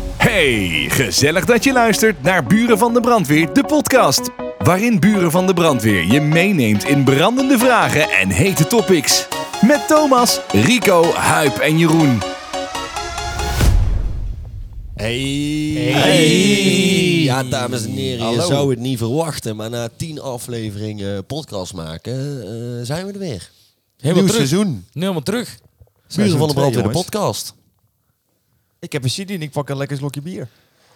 Hey, gezellig dat je luistert naar Buren van de Brandweer, de podcast. Waarin Buren van de Brandweer je meeneemt in brandende vragen en hete topics. Met Thomas, Rico, Huip en Jeroen. Hey. Ja, dames en heren, je zou het niet verwachten, maar na tien afleveringen podcast maken, eh, zijn we er weer. Helemaal Nieuw terug. seizoen. Helemaal terug. Buren van de twee, Brandweer, de jongens. podcast. Ik heb een CD en ik pak een lekker slokje bier.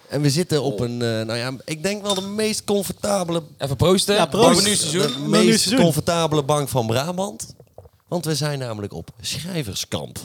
En we zitten op een, eh, nou ja, ik denk wel de meest comfortabele Even proosten. Ja, bank, nieuw de seizoen. nieuw meest seizoen. comfortabele bank van Brabant. Want we zijn namelijk op schrijverskamp.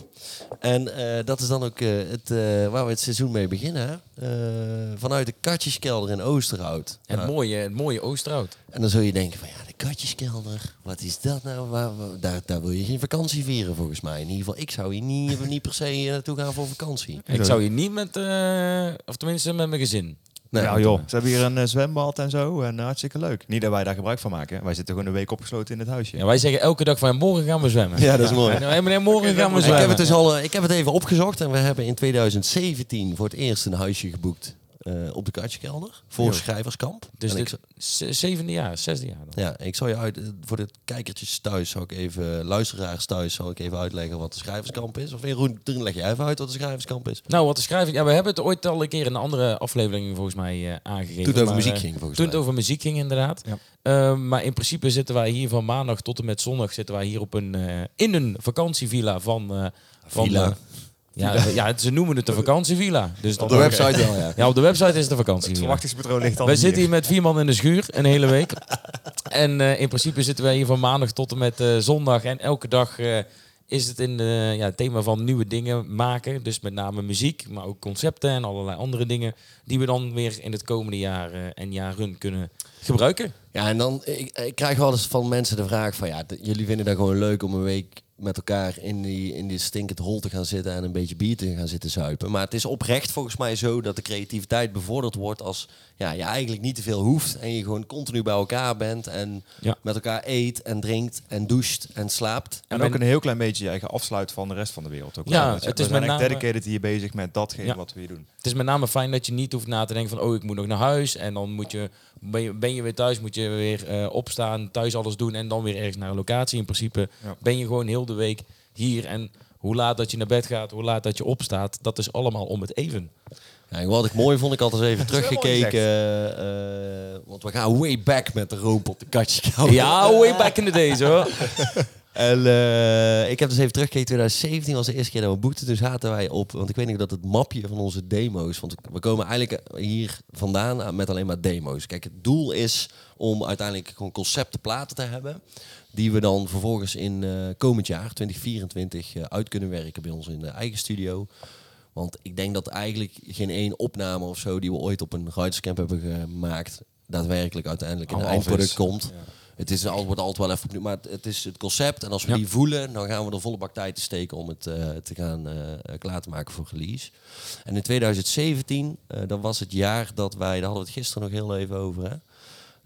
En eh, dat is dan ook eh, het, eh, waar we het seizoen mee beginnen. hè? Eh, vanuit de katjeskelder in Oosterhout. Het Nou, mooie, het mooie Oosterhout. En dan zul je denken van ja, de katjeskelder, wat is dat nou? Waar, waar- daar, daar wil je geen vakantie vieren volgens mij. In ieder geval, ik zou hier niet, niet per se eh, naartoe gaan voor vakantie. Ik zou hier niet met, eh, of tenminste met mijn gezin. Nee, nou joh, ze hebben hier een eh, zwembad en zo en eh, hartstikke leuk. Niet dat wij daar gebruik van maken. hè. Wij zitten gewoon een week opgesloten in het huisje. Ja, wij zeggen elke dag van morgen gaan we zwemmen. Ja, dat is mooi. Nou, hey, meneer, morgen gaan we Ik zwemmen. heb, het dus al, eh, ik heb het even opgezocht en we hebben in 2017 voor het eerst een huisje geboekt eh, op de katjeskelder voor schrijverskamp. Dus En dit ik, ze- zevende jaar, zesde jaar. Dan. ja, ik zal je uit, eh, voor de kijkertjes thuis, zal ik even, luisteraars thuis, zal ik even uitleggen wat de schrijverskamp is. Of Jeroen, dan leg je even uit wat de schrijverskamp is. Nou, wat de schrijving. Ja, we hebben het ooit al een keer in een andere aflevering volgens mij eh, aangegeven. Toen het over maar, muziek eh, ging, volgens Toen het mij. over muziek ging, inderdaad. Ja. Eh, maar in principe zitten wij hier van maandag tot en met zondag zitten wij hier op een, eh, in een vakantievilla van... eh, van Villa. eh, ja, ja, ze noemen het de vakantievilla. Dus Op de website wel, ja. Ja, op de website is het de Het vakantievilla. verwachtingspatroon ligt al Wij zitten hier met vier man in de schuur een hele week. en eh, in principe zitten wij hier van maandag tot en met eh, zondag. En elke dag eh, is het in eh, ja, het thema van nieuwe dingen maken. Dus met name muziek, maar ook concepten en allerlei andere dingen. Die we dan weer in het komende jaar eh, en jaren kunnen gebruiken. Ja, en dan ik, ik krijg wel eens van mensen de vraag van ja, d- jullie vinden dat gewoon leuk om een week met elkaar in die, in die stinkend hol te gaan zitten en een beetje bier te gaan zitten zuipen. Maar het is oprecht volgens mij zo dat de creativiteit bevorderd wordt als ja, je eigenlijk niet te veel hoeft en je gewoon continu bij elkaar bent en Ja. met elkaar eet en drinkt en doucht en slaapt. En En ook een heel klein beetje je eigen afsluit van de rest van de wereld. Ook Ja, wel, weet je. het we is zijn met echt name- dedicated hier bezig met datgene Ja. wat we hier doen. Het is met name fijn dat je niet hoeft na te denken van oh, ik moet nog naar huis. En dan moet je, ben, je, ben je weer thuis, moet je weer eh, opstaan, thuis alles doen en dan weer ergens naar een locatie. In principe Ja. ben je gewoon heel de week hier. En hoe laat dat je naar bed gaat, hoe laat dat je opstaat, dat is allemaal om het even. Ja, en wat ik mooi vond, ik had eens even Dat is wel mooi teruggekeken, eh, eh, want we gaan way back met de roop op de katje. Oh. Ja, way back in the days hoor. En eh, ik heb dus even teruggekeken, 2017 was de eerste keer dat we boekten. Toen zaten wij op, want ik weet niet of dat het mapje van onze demo's... Want we komen eigenlijk hier vandaan met alleen maar demo's. Kijk, het doel is om uiteindelijk gewoon conceptenplaten te hebben... die we dan vervolgens in eh, komend jaar, 2024, eh, uit kunnen werken bij ons in de eigen studio... Want ik denk dat eigenlijk geen één opname of zo die we ooit op een ridescamp hebben gemaakt, daadwerkelijk uiteindelijk in een Allemaal af eindproduct is. komt. Het is al, wordt altijd wel even opnieuw, maar het, het is het concept. En als we Ja. die voelen, dan gaan we er volle bak tijd te steken om het eh, te gaan eh, eh, klaar te maken voor release. En in 2017, eh dat was het jaar dat wij, daar hadden we het gisteren nog heel even over, hè,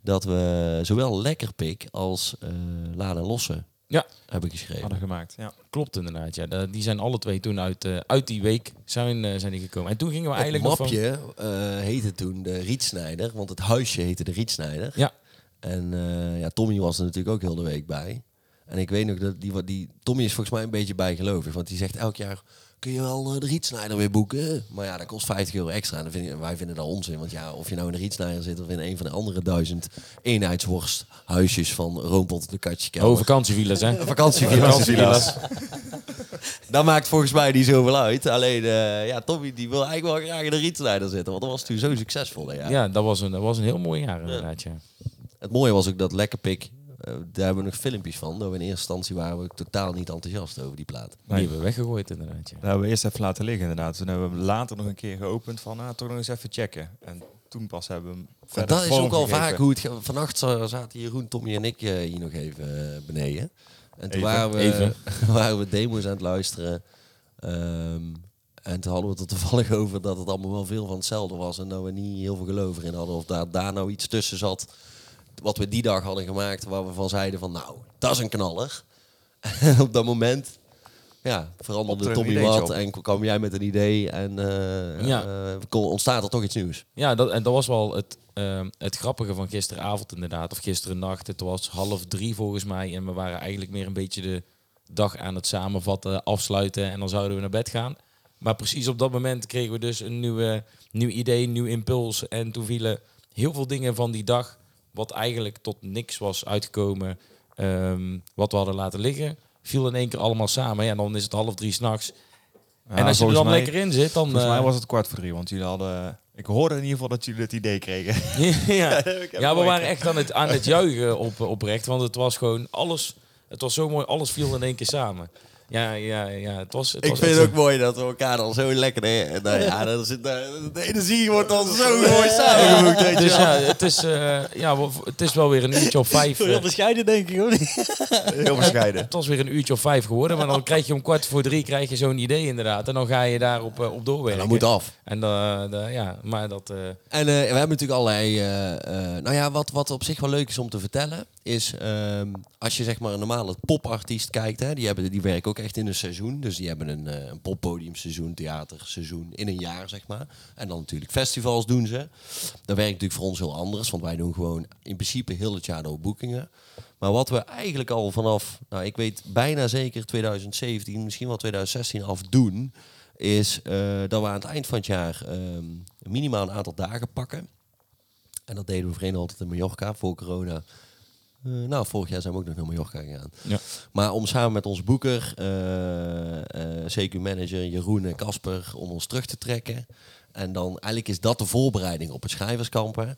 dat we zowel Lekkerpik als eh Laden Lossen Ja. hebben geschreven. Hadden gemaakt. Ja. Klopt inderdaad, ja. Da- Die zijn alle twee toen uit, eh, uit die week zijn, eh, zijn die gekomen. En toen gingen we eigenlijk nog het van- mapje eh, heette toen de Rietsnijder, want het huisje heette de Rietsnijder. Ja. En eh, ja, Tommy was er natuurlijk ook heel de week bij. En ik weet nog dat die, wat die Tommy is volgens mij een beetje bijgelovig, want die zegt elk jaar kun je wel eh, de Rietsnijder weer boeken. Maar ja, dat kost 50 euro extra. En dan vind ik- wij vinden dat onzin, want ja, of je nou in de Rietsnijder zit of in een van de andere duizend eenheidsworsthuisjes van Roompot de Katjeskelder. Oh, vakantievielers hè. Vakantievilla's. Dat maakt volgens mij niet zoveel uit. Alleen, eh, ja, Tommy die wil eigenlijk wel graag in de rietsnijder zitten. Want dat was toen zo succesvol. hè, Ja. Ja, dat was, een, dat was een heel mooi jaar inderdaad, ja. Het mooie was ook dat Lekkerpik, eh, daar hebben we nog filmpjes van. Dat we in eerste instantie waren we ook totaal niet enthousiast over die plaat. Die hebben we weggegooid inderdaad, ja. Dat hebben we eerst even laten liggen inderdaad. Toen hebben we hem later nog een keer geopend van ah, toch nog eens even checken. En toen pas hebben we hem Maar verder dat is vorm ook al gegeven. vaak hoe het... ge- Vannacht za- zaten Jeroen, Tommy en ik eh, hier nog even eh, beneden. En toen Even. waren we, Even. waren we demo's aan het luisteren. Ehm, en toen hadden we het er toevallig over dat het allemaal wel veel van hetzelfde was. En dat we niet heel veel geloof in hadden. Of daar, daar nou iets tussen zat. Wat we die dag hadden gemaakt. Waar we van zeiden van nou, dat is een knaller. En op dat moment ja, veranderde Opte er een Tommy ideetje wat op. en kwam jij met een idee en eh, Ja. eh, kon, ontstaat er toch iets nieuws. Ja, dat, en dat was wel het, ehm, het grappige van gisteravond inderdaad. Of gisterennacht. Het was half drie volgens mij. En we waren eigenlijk meer een beetje de dag aan het samenvatten, afsluiten. En dan zouden we naar bed gaan. Maar precies op dat moment kregen we dus een nieuwe, nieuw idee, een nieuw impuls. En toen vielen heel veel dingen van die dag, wat eigenlijk tot niks was uitgekomen, ehm, wat we hadden laten liggen, viel in één keer allemaal samen. Ja, en dan is het half drie s'nachts. Ja, en als je er volgens dan mij- lekker in zit, dan... Volgens mij eh, was het kwart voor drie, want jullie hadden... Ik hoorde in ieder geval dat jullie het idee kregen. ja. Ik heb Ja, we nooit- waren echt aan het, aan het juichen op, oprecht. Want het was gewoon alles. Het was zo mooi, alles viel in één keer samen. Ja, ja, ja. Het was, het Ik was vind echt het een- ook mooi dat we elkaar dan zo lekker... hè, nou ja, dan zit, daar- de energie wordt dan zo mooi samengevoegd, weet je Dus wel. ja, het is, eh, ja, we- het is wel weer een uurtje of vijf. eh, Veel bescheiden denk ik, hoor. Heel bescheiden. het was weer een uurtje of vijf geworden. Maar dan krijg je om kwart voor drie krijg je zo'n idee inderdaad. En dan ga je daarop eh, op doorwerken. Dat moet af. En eh, da- ja, maar dat... eh, En eh, we hebben natuurlijk allerlei. eh, eh, nou ja, wat, wat op zich wel leuk is om te vertellen. Is ehm, als je zeg maar een normale popartiest kijkt. Hè, die, hebben, die werken ook echt in een seizoen. Dus die hebben een, eh een poppodiumseizoen, theaterseizoen. In een jaar zeg maar. En dan natuurlijk festivals doen ze. Dat werkt natuurlijk voor ons heel anders. Want wij doen gewoon in principe heel het jaar door boekingen. Maar wat we eigenlijk al vanaf. Nou, ik weet bijna zeker 2017, misschien wel 2016 af doen is eh, dat we aan het eind van het jaar ehm, minimaal een aantal dagen pakken. En dat deden we voorheen altijd in Mallorca voor corona. Eh, nou, vorig jaar zijn we ook nog naar Mallorca gegaan. Ja. Maar om samen met ons boeker, eh, eh, CQ-manager Jeroen en Casper, om ons terug te trekken. En dan eigenlijk is dat de voorbereiding op het schrijverskampen.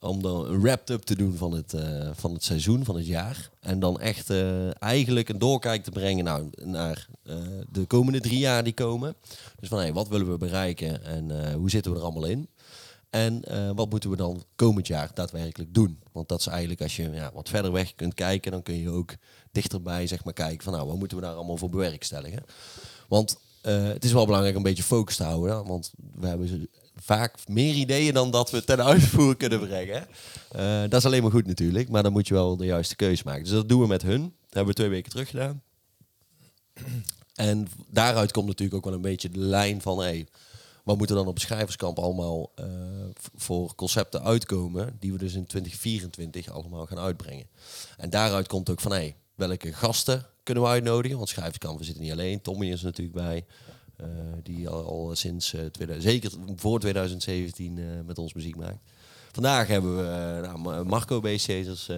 Om dan een wrap-up te doen van het, eh, van het seizoen, van het jaar. En dan echt eh, eigenlijk een doorkijk te brengen nou, naar eh, de komende drie jaar die komen. Dus van hey, wat willen we bereiken en eh, hoe zitten we er allemaal in? En eh, wat moeten we dan komend jaar daadwerkelijk doen? Want dat is eigenlijk als je ja, wat verder weg kunt kijken, dan kun je ook dichterbij zeg maar, kijken van nou, wat moeten we daar allemaal voor bewerkstelligen? Want eh, het is wel belangrijk een beetje focus te houden, hè, want we hebben ze- vaak meer ideeën dan dat we ten uitvoer kunnen brengen. Eh, dat is alleen maar goed natuurlijk, maar dan moet je wel de juiste keuze maken. Dus dat doen we met hun. Dat hebben we twee weken terug gedaan. En v- daaruit komt natuurlijk ook wel een beetje de lijn van... Hey, wat moet er dan op schrijverskamp allemaal eh, v- voor concepten uitkomen... die we dus in 2024 allemaal gaan uitbrengen. En daaruit komt ook van... Hey, welke gasten kunnen we uitnodigen? Want schrijverskamp, we zitten niet alleen. Tommy is er natuurlijk bij. eh, die al, al sinds eh, 2000, zeker voor 2017 eh, met ons muziek maakt. Vandaag hebben we eh, nou, Ma- Marco B. Cezars eh,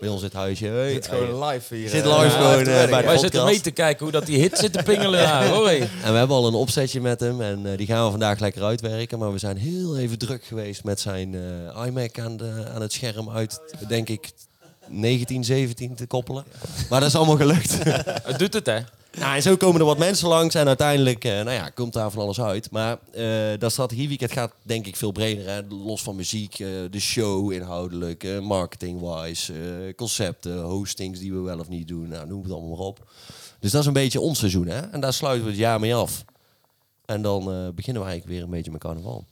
bij ons in het huisje. Hey, Dit hey. gewoon live hier. Zit eh, live te gewoon, eh, werken. bij de wij podcast. zitten mee te kijken hoe dat die hit zit te pingelen. daar, hoor, hé. En we hebben al een opzetje met hem en eh, die gaan we vandaag lekker uitwerken. Maar we zijn heel even druk geweest met zijn eh, iMac aan, de, aan het scherm uit, denk ik, 1917 te koppelen. Maar dat is allemaal gelukt. Het doet het, hè? nou, en zo komen er wat mensen langs en uiteindelijk, eh, nou ja, komt daar van alles uit. Maar eh dat strategieweekend gaat denk ik veel breder. Hè? Los van muziek, eh, de show inhoudelijk, eh, marketing-wise, eh, concepten, hostings die we wel of niet doen. Nou, noem het allemaal maar op. Dus dat is een beetje ons seizoen, hè? En daar sluiten we het jaar mee af. En dan eh, beginnen we eigenlijk weer een beetje met carnaval.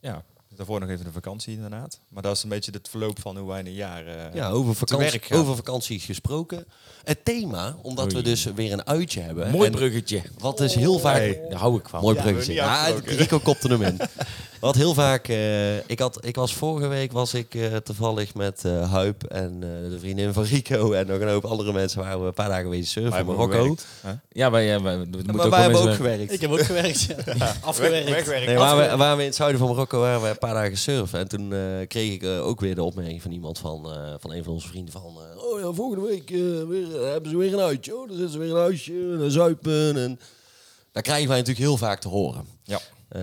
Ja, Dus daarvoor nog even de vakantie inderdaad. Maar dat is een beetje het verloop van hoe wij in een jaar... eh, Ja, over werk vakantie, gaan. over vakantie gesproken. Het thema, omdat we Oei. dus weer een uitje hebben. Mooi En bruggetje. Wat is heel vaak... Daar hou ik van. Mooi Ja, bruggetje. we hebben Ja, niet Rico afgesproken. kopte hem in. Wat heel vaak... eh, ik, had, ik was vorige week was ik eh, toevallig met eh Huip en eh, de vriendin van Rico en nog een hoop andere mensen waren we een paar dagen wezen surfen wij in hebben Marokko. gewerkt, hè? Ja, wij, eh, wij, we moeten Maar wij ook wel hebben ook mensen- gewerkt. Ik heb ook gewerkt. ja. Afgewerkt. Wegwerken. Nee, waar, we, waar we in het zuiden van Marokko waren, we een paar dagen surfen. En toen eh, kreeg ik eh, ook weer de opmerking van iemand van, eh, van een van onze vrienden van... eh, oh ja, volgende week eh, weer, eh, hebben ze weer een uitje. Oh, dan zitten ze weer in een huisje en dan zuipen. En... Dat krijgen wij natuurlijk heel vaak te horen. Ja. Eh,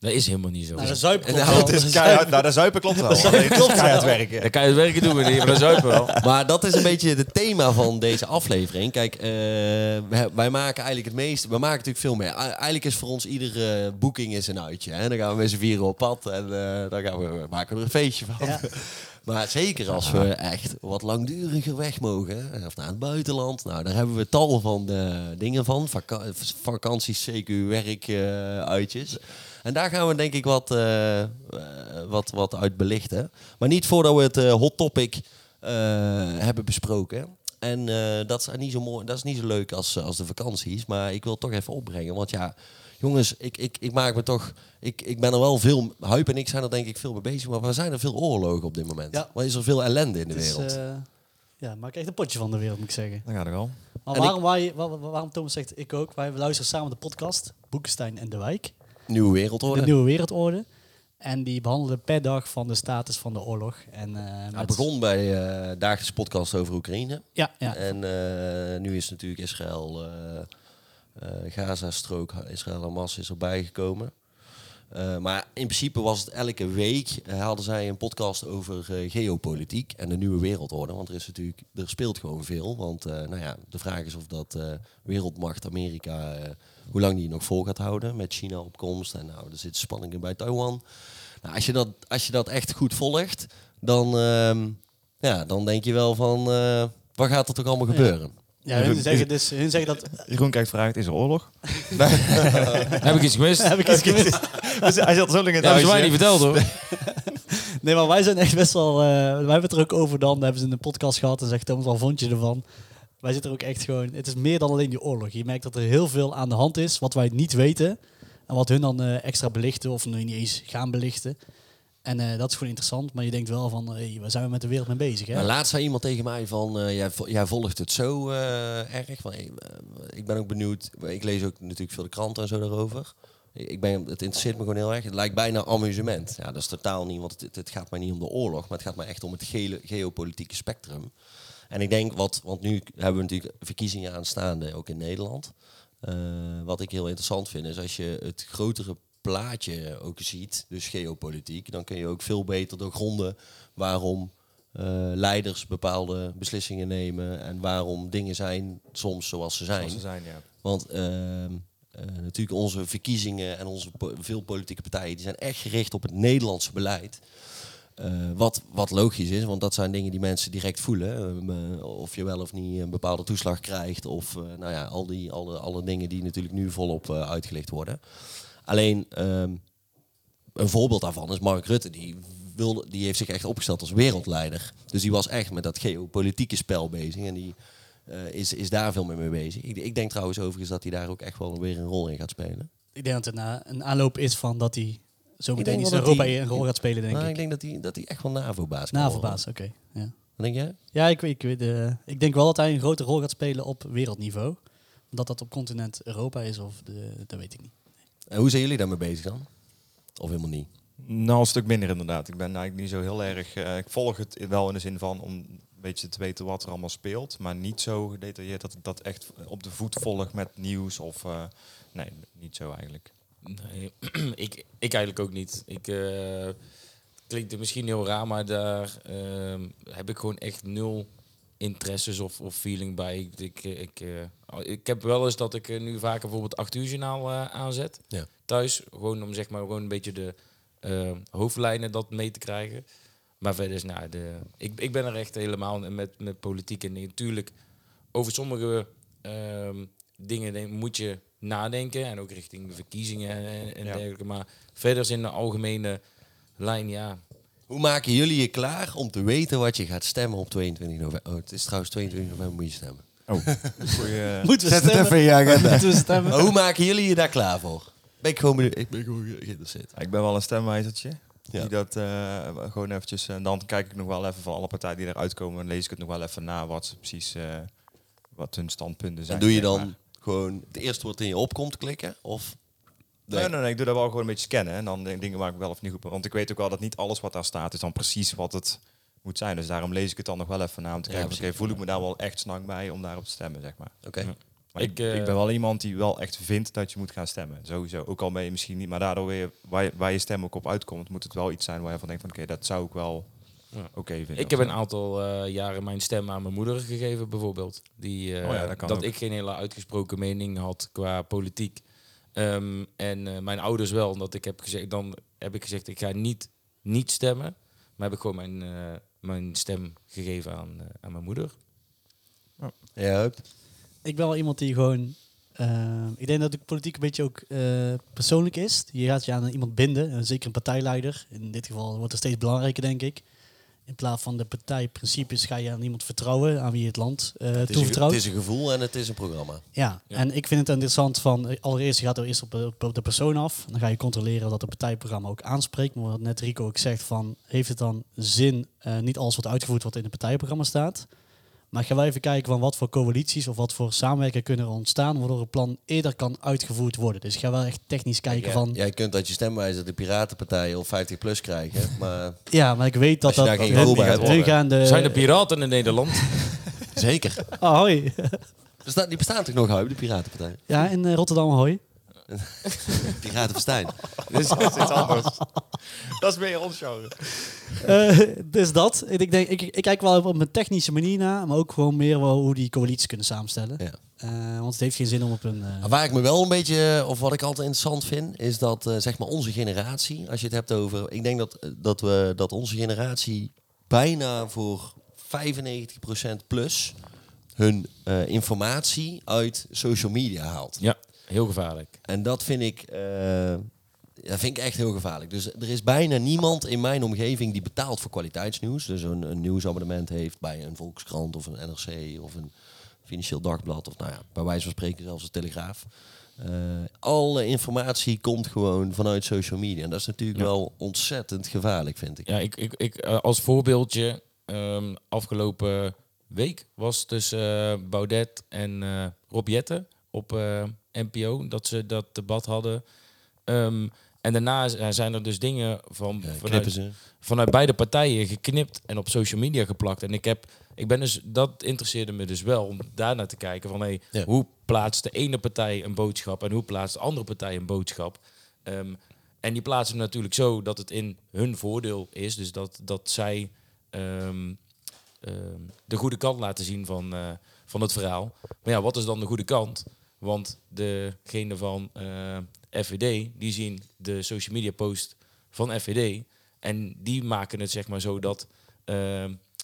Dat is helemaal niet zo. Naar de En zuipkop. nou, het Het is keihard. Nou, dat zuipen klopt wel. Alleen het is keihard werken. Dan kan je het werken doen, meneer, maar dat zuipen wel. maar dat is een beetje het thema van deze aflevering. Kijk, eh, wij- wij maken eigenlijk het meeste... We maken natuurlijk veel meer. A- Eigenlijk is voor ons iedere boeking is een uitje. Hè? Dan gaan we met z'n vieren op pad en eh, dan gaan we, we maken er een feestje van. Ja. Maar zeker als we echt wat langduriger weg mogen, hè, of naar het buitenland. Nou, daar hebben we tal van eh, dingen van. Vaka- vakanties, CQ, werk, eh, uitjes. En daar gaan we denk ik wat, eh, eh, wat, wat uit belichten. Maar niet voordat we het eh, hot topic eh, hebben besproken. En eh, dat, is niet zo mooi, dat is niet zo leuk als, eh, als de vakanties. Maar ik wil het toch even opbrengen. Want ja, jongens, ik, ik, ik maak me toch... Ik, ik ben er wel veel... Huip en ik zijn er denk ik veel mee bezig. Maar er zijn er veel oorlogen op dit moment. Ja. Er is er veel ellende in de Het is, wereld. eh, ja, maak echt een potje van de wereld, moet ik zeggen. Dan gaat het al. Maar En waarom, wij, wa- wa- waarom Thomas zegt ik ook, wij luisteren samen de podcast Boekenstein en de Wijk, Nieuwe wereldorde. de Nieuwe Wereldorde. En die behandelen per dag van de status van de oorlog. En, eh, Hij met- Nou, begon bij eh dagelijkse podcast over Oekraïne. Ja, ja. En eh, nu is natuurlijk Israël, eh, eh, Gaza-strook, Israël Hamas is erbij gekomen. Eh, maar in principe was het elke week eh, hadden zij een podcast over eh, geopolitiek en de nieuwe wereldorde. Want er is natuurlijk, er speelt gewoon veel. Want eh, nou ja, de vraag is of dat eh, wereldmacht Amerika, eh, hoe lang die het nog vol gaat houden met China opkomst. En nou, er zitten spanningen bij Taiwan. Nou, als, je dat, als je dat echt goed volgt, dan, ehm, ja, dan denk je wel van, eh, wat gaat er toch allemaal gebeuren? ja, hun, zeggen dus, hun zeggen dat... Jeroen kijkt vraagt, is er oorlog? Heb ik iets gemist? heb ik eens gemist. Dus hij zat zo lang in Dat hebben het ze mij niet huisje. verteld hoor. Nee, maar wij zijn echt best wel. eh, wij hebben het er ook over dan. Hebben ze in de podcast gehad en zegt Thomas, wat vond je ervan? Wij zitten er ook echt gewoon. Het is meer dan alleen die oorlog. Je merkt dat er heel veel aan de hand is wat wij niet weten. En wat hun dan eh, extra belichten of nu niet eens gaan belichten. En eh, dat is gewoon interessant. Maar je denkt wel van, hey, waar zijn we met de wereld mee bezig? Hè? Maar laatst zei iemand tegen mij van, eh, jij, vo- jij volgt het zo eh, erg. Van, eh, eh, ik ben ook benieuwd, ik lees ook natuurlijk veel de kranten en zo daarover. Ik ben, het interesseert me gewoon heel erg. Het lijkt bijna amusement. Ja, dat is totaal niet, want het, het gaat mij niet om de oorlog, maar het gaat mij echt om het gele, geopolitieke spectrum. En ik denk, wat, want nu hebben we natuurlijk verkiezingen aanstaande, ook in Nederland. Eh, wat ik heel interessant vind, is als je het grotere plaatje ook ziet, dus geopolitiek, dan kun je ook veel beter doorgronden waarom eh, leiders bepaalde beslissingen nemen en waarom dingen zijn soms zoals ze zijn. Zoals ze zijn, ja. Want ehm, eh, natuurlijk onze verkiezingen en onze po- veel politieke partijen die zijn echt gericht op het Nederlandse beleid. Eh, wat, wat logisch is, want dat zijn dingen die mensen direct voelen. Ehm, eh, of je wel of niet een bepaalde toeslag krijgt. Of eh, nou ja, al die, alle, alle dingen die natuurlijk nu volop eh, uitgelicht worden. Alleen ehm, een voorbeeld daarvan is Mark Rutte. Die, wilde, die heeft zich echt opgesteld als wereldleider. Dus die was echt met dat geopolitieke spel bezig. En die eh, is, is daar veel meer mee bezig. Ik, ik denk trouwens overigens dat hij daar ook echt wel weer een rol in gaat spelen. Ik denk dat het na een aanloop is van dat hij zo denk meteen wel iets in dat Europa die- een rol gaat spelen, denk maar ik ik. denk dat hij, dat hij echt wel NAVO-baas kan Navobaas, oké. Ja. worden. Wat denk jij? Ja, ik, weet- ik, weet, eh, ik denk wel dat hij een grote rol gaat spelen op wereldniveau. Omdat dat op continent Europa is, of de, dat weet ik niet. En hoe zijn jullie daarmee bezig dan? Of helemaal niet? Nou, een stuk minder inderdaad. Ik ben eigenlijk niet zo heel erg... eh, ik volg het wel in de zin van om een beetje te weten wat er allemaal speelt. Maar niet zo gedetailleerd dat ik dat echt op de voet volg met nieuws of... eh, nee, niet zo eigenlijk. Nee, ik, ik eigenlijk ook niet. Ik, eh, klinkt het misschien heel raar, maar daar ehm, heb ik gewoon echt nul interesses of, of feeling bij. Ik, ik, ik, eh, al- ik heb wel eens dat ik eh, nu vaker bijvoorbeeld 8 uur journaal eh, aanzet. Ja. Thuis, gewoon om zeg maar gewoon een beetje de eh, hoofdlijnen dat mee te krijgen. Maar verder is, nou, de, ik, ik ben er echt helemaal met, met politiek en natuurlijk over sommige ehm, dingen denk- moet je nadenken. En ook richting de verkiezingen en, en Ja. dergelijke. Maar verder is in de algemene lijn, ja. Hoe maken jullie je klaar om te weten wat je gaat stemmen op 22 november? Oh, het is trouwens 22 november moet je stemmen. Oh. Goeie, Moeten we Zet het stemmen? even in je agenda. Moeten we stemmen? Maar hoe maken jullie je daar klaar voor? Ben ik gewoon benieuwd. Ik ben gewoon geïnteresseerd. Ja, Ik ben wel een stemwijzertje. Ja. Die dat eh, gewoon eventjes. En dan kijk ik nog wel even van alle partijen die eruit komen. En lees ik het nog wel even na wat ze precies. eh, wat hun standpunten En zijn. doe je zeg dan maar. gewoon het eerste wat in je opkomt klikken? Of Nee. nee, nee, ik doe dat wel gewoon een beetje scannen. En dan denk- dingen waar ik wel of niet goed ben. Want ik weet ook wel dat niet alles wat daar staat is dan precies wat het moet zijn. Dus daarom lees ik het dan nog wel even na. Om te Ja, kijken, oké, precies. voel ik me daar wel echt snak bij om daarop te stemmen, zeg maar. Oké. Ja. Maar Ik, ik, eh, ik ben wel iemand die wel echt vindt dat je moet gaan stemmen. Sowieso. Ook al ben je misschien niet. Maar daardoor weer, waar je, waar je stem ook op uitkomt, moet het wel iets zijn waar je van denkt van oké, dat zou ik wel Ja. oké vinden. Ik heb een aantal eh, jaren mijn stem aan mijn moeder gegeven, bijvoorbeeld. Die, eh, Oh ja, dat dat kan ook. ik geen hele uitgesproken mening had qua politiek. Ehm, en eh, mijn ouders wel, omdat ik heb gezegd, dan heb ik gezegd, ik ga niet, niet stemmen. Maar heb ik gewoon mijn, eh, mijn stem gegeven aan, eh, aan mijn moeder. Ja, hup. Ik ben wel iemand die gewoon... eh, ik denk dat de politiek een beetje ook eh, persoonlijk is. Je gaat je aan iemand binden, en zeker een partijleider. In dit geval wordt het steeds belangrijker, denk ik. In plaats van de partijprincipes ga je aan iemand vertrouwen, aan wie je het land eh, Het is, een, toevertrouwt. het is een gevoel en het is een programma. Ja, Ja. en ik vind het interessant van, eh, allereerst je gaat er eerst op, eh, op de persoon af. Dan ga je controleren dat het partijprogramma ook aanspreekt. Maar wat net Rico ook zegt van, heeft het dan zin, eh, niet alles wordt uitgevoerd wat in het partijprogramma staat. Maar gaan wij even kijken van wat voor coalities of wat voor samenwerkingen kunnen er ontstaan, waardoor het plan eerder kan uitgevoerd worden. Dus ga wel echt technisch kijken eh, Ja, van, ja, Jij kunt uit je stemwijzer de Piratenpartij of 50 plus krijgen, maar maar ik weet dat Als je dat... daar geen hun- gevoel bij hun hebt, hoor. gaan de... Zijn er piraten in Nederland? zeker. Oh, hoi. Besta- die bestaan toch nog, Huib, de Piratenpartij? Ja, in eh, Rotterdam, hoi. Piratenpartij. Dus dat is iets anders. dat is meer ons genre. Eh, dus dat. Ik, denk, ik, ik kijk wel op mijn technische manier naar, maar ook gewoon meer wel hoe die coalities kunnen samenstellen. Ja. Eh, want het heeft geen zin om op een. eh, Maar Waar ik me wel een beetje, eh, of wat ik altijd interessant vind, is dat eh, zeg maar onze generatie, als je het hebt over, ik denk dat, eh, dat, we, dat onze generatie bijna voor 95% plus hun eh, informatie uit social media haalt. Ja, heel gevaarlijk. En dat vind ik, eh, dat vind ik echt heel gevaarlijk. Dus er is bijna niemand in mijn omgeving die betaalt voor kwaliteitsnieuws. Dus een, een nieuwsabonnement heeft bij een Volkskrant of een NRC of een Financieel Dagblad. Of nou ja, bij wijze van spreken zelfs een Telegraaf. Eh, alle informatie komt gewoon vanuit social media. En dat is natuurlijk Ja. wel ontzettend gevaarlijk, vind ik. Ja, ik, ik, ik, eh, als voorbeeldje, ehm, afgelopen week was tussen eh, Baudet en eh Rob Jetten op eh, NPO dat ze dat debat hadden. Ehm, en daarna z- zijn er dus dingen van, Ja, vanuit, Eh, knippen ze. vanuit beide partijen geknipt en op social media geplakt. En ik heb, ik ben dus, dat interesseerde me dus wel om daarnaar te kijken van hey, Ja. hoe plaatst de ene partij een boodschap en hoe plaatst de andere partij een boodschap. Ehm, en die plaatsen hem natuurlijk zo dat het in hun voordeel is, dus dat, dat zij ehm, ehm, de goede kant laten zien van, eh, van het verhaal. Maar ja, wat is dan de goede kant? Want degene van eh, FVD, die zien de social media post van FVD. En die maken het zeg maar zo dat eh,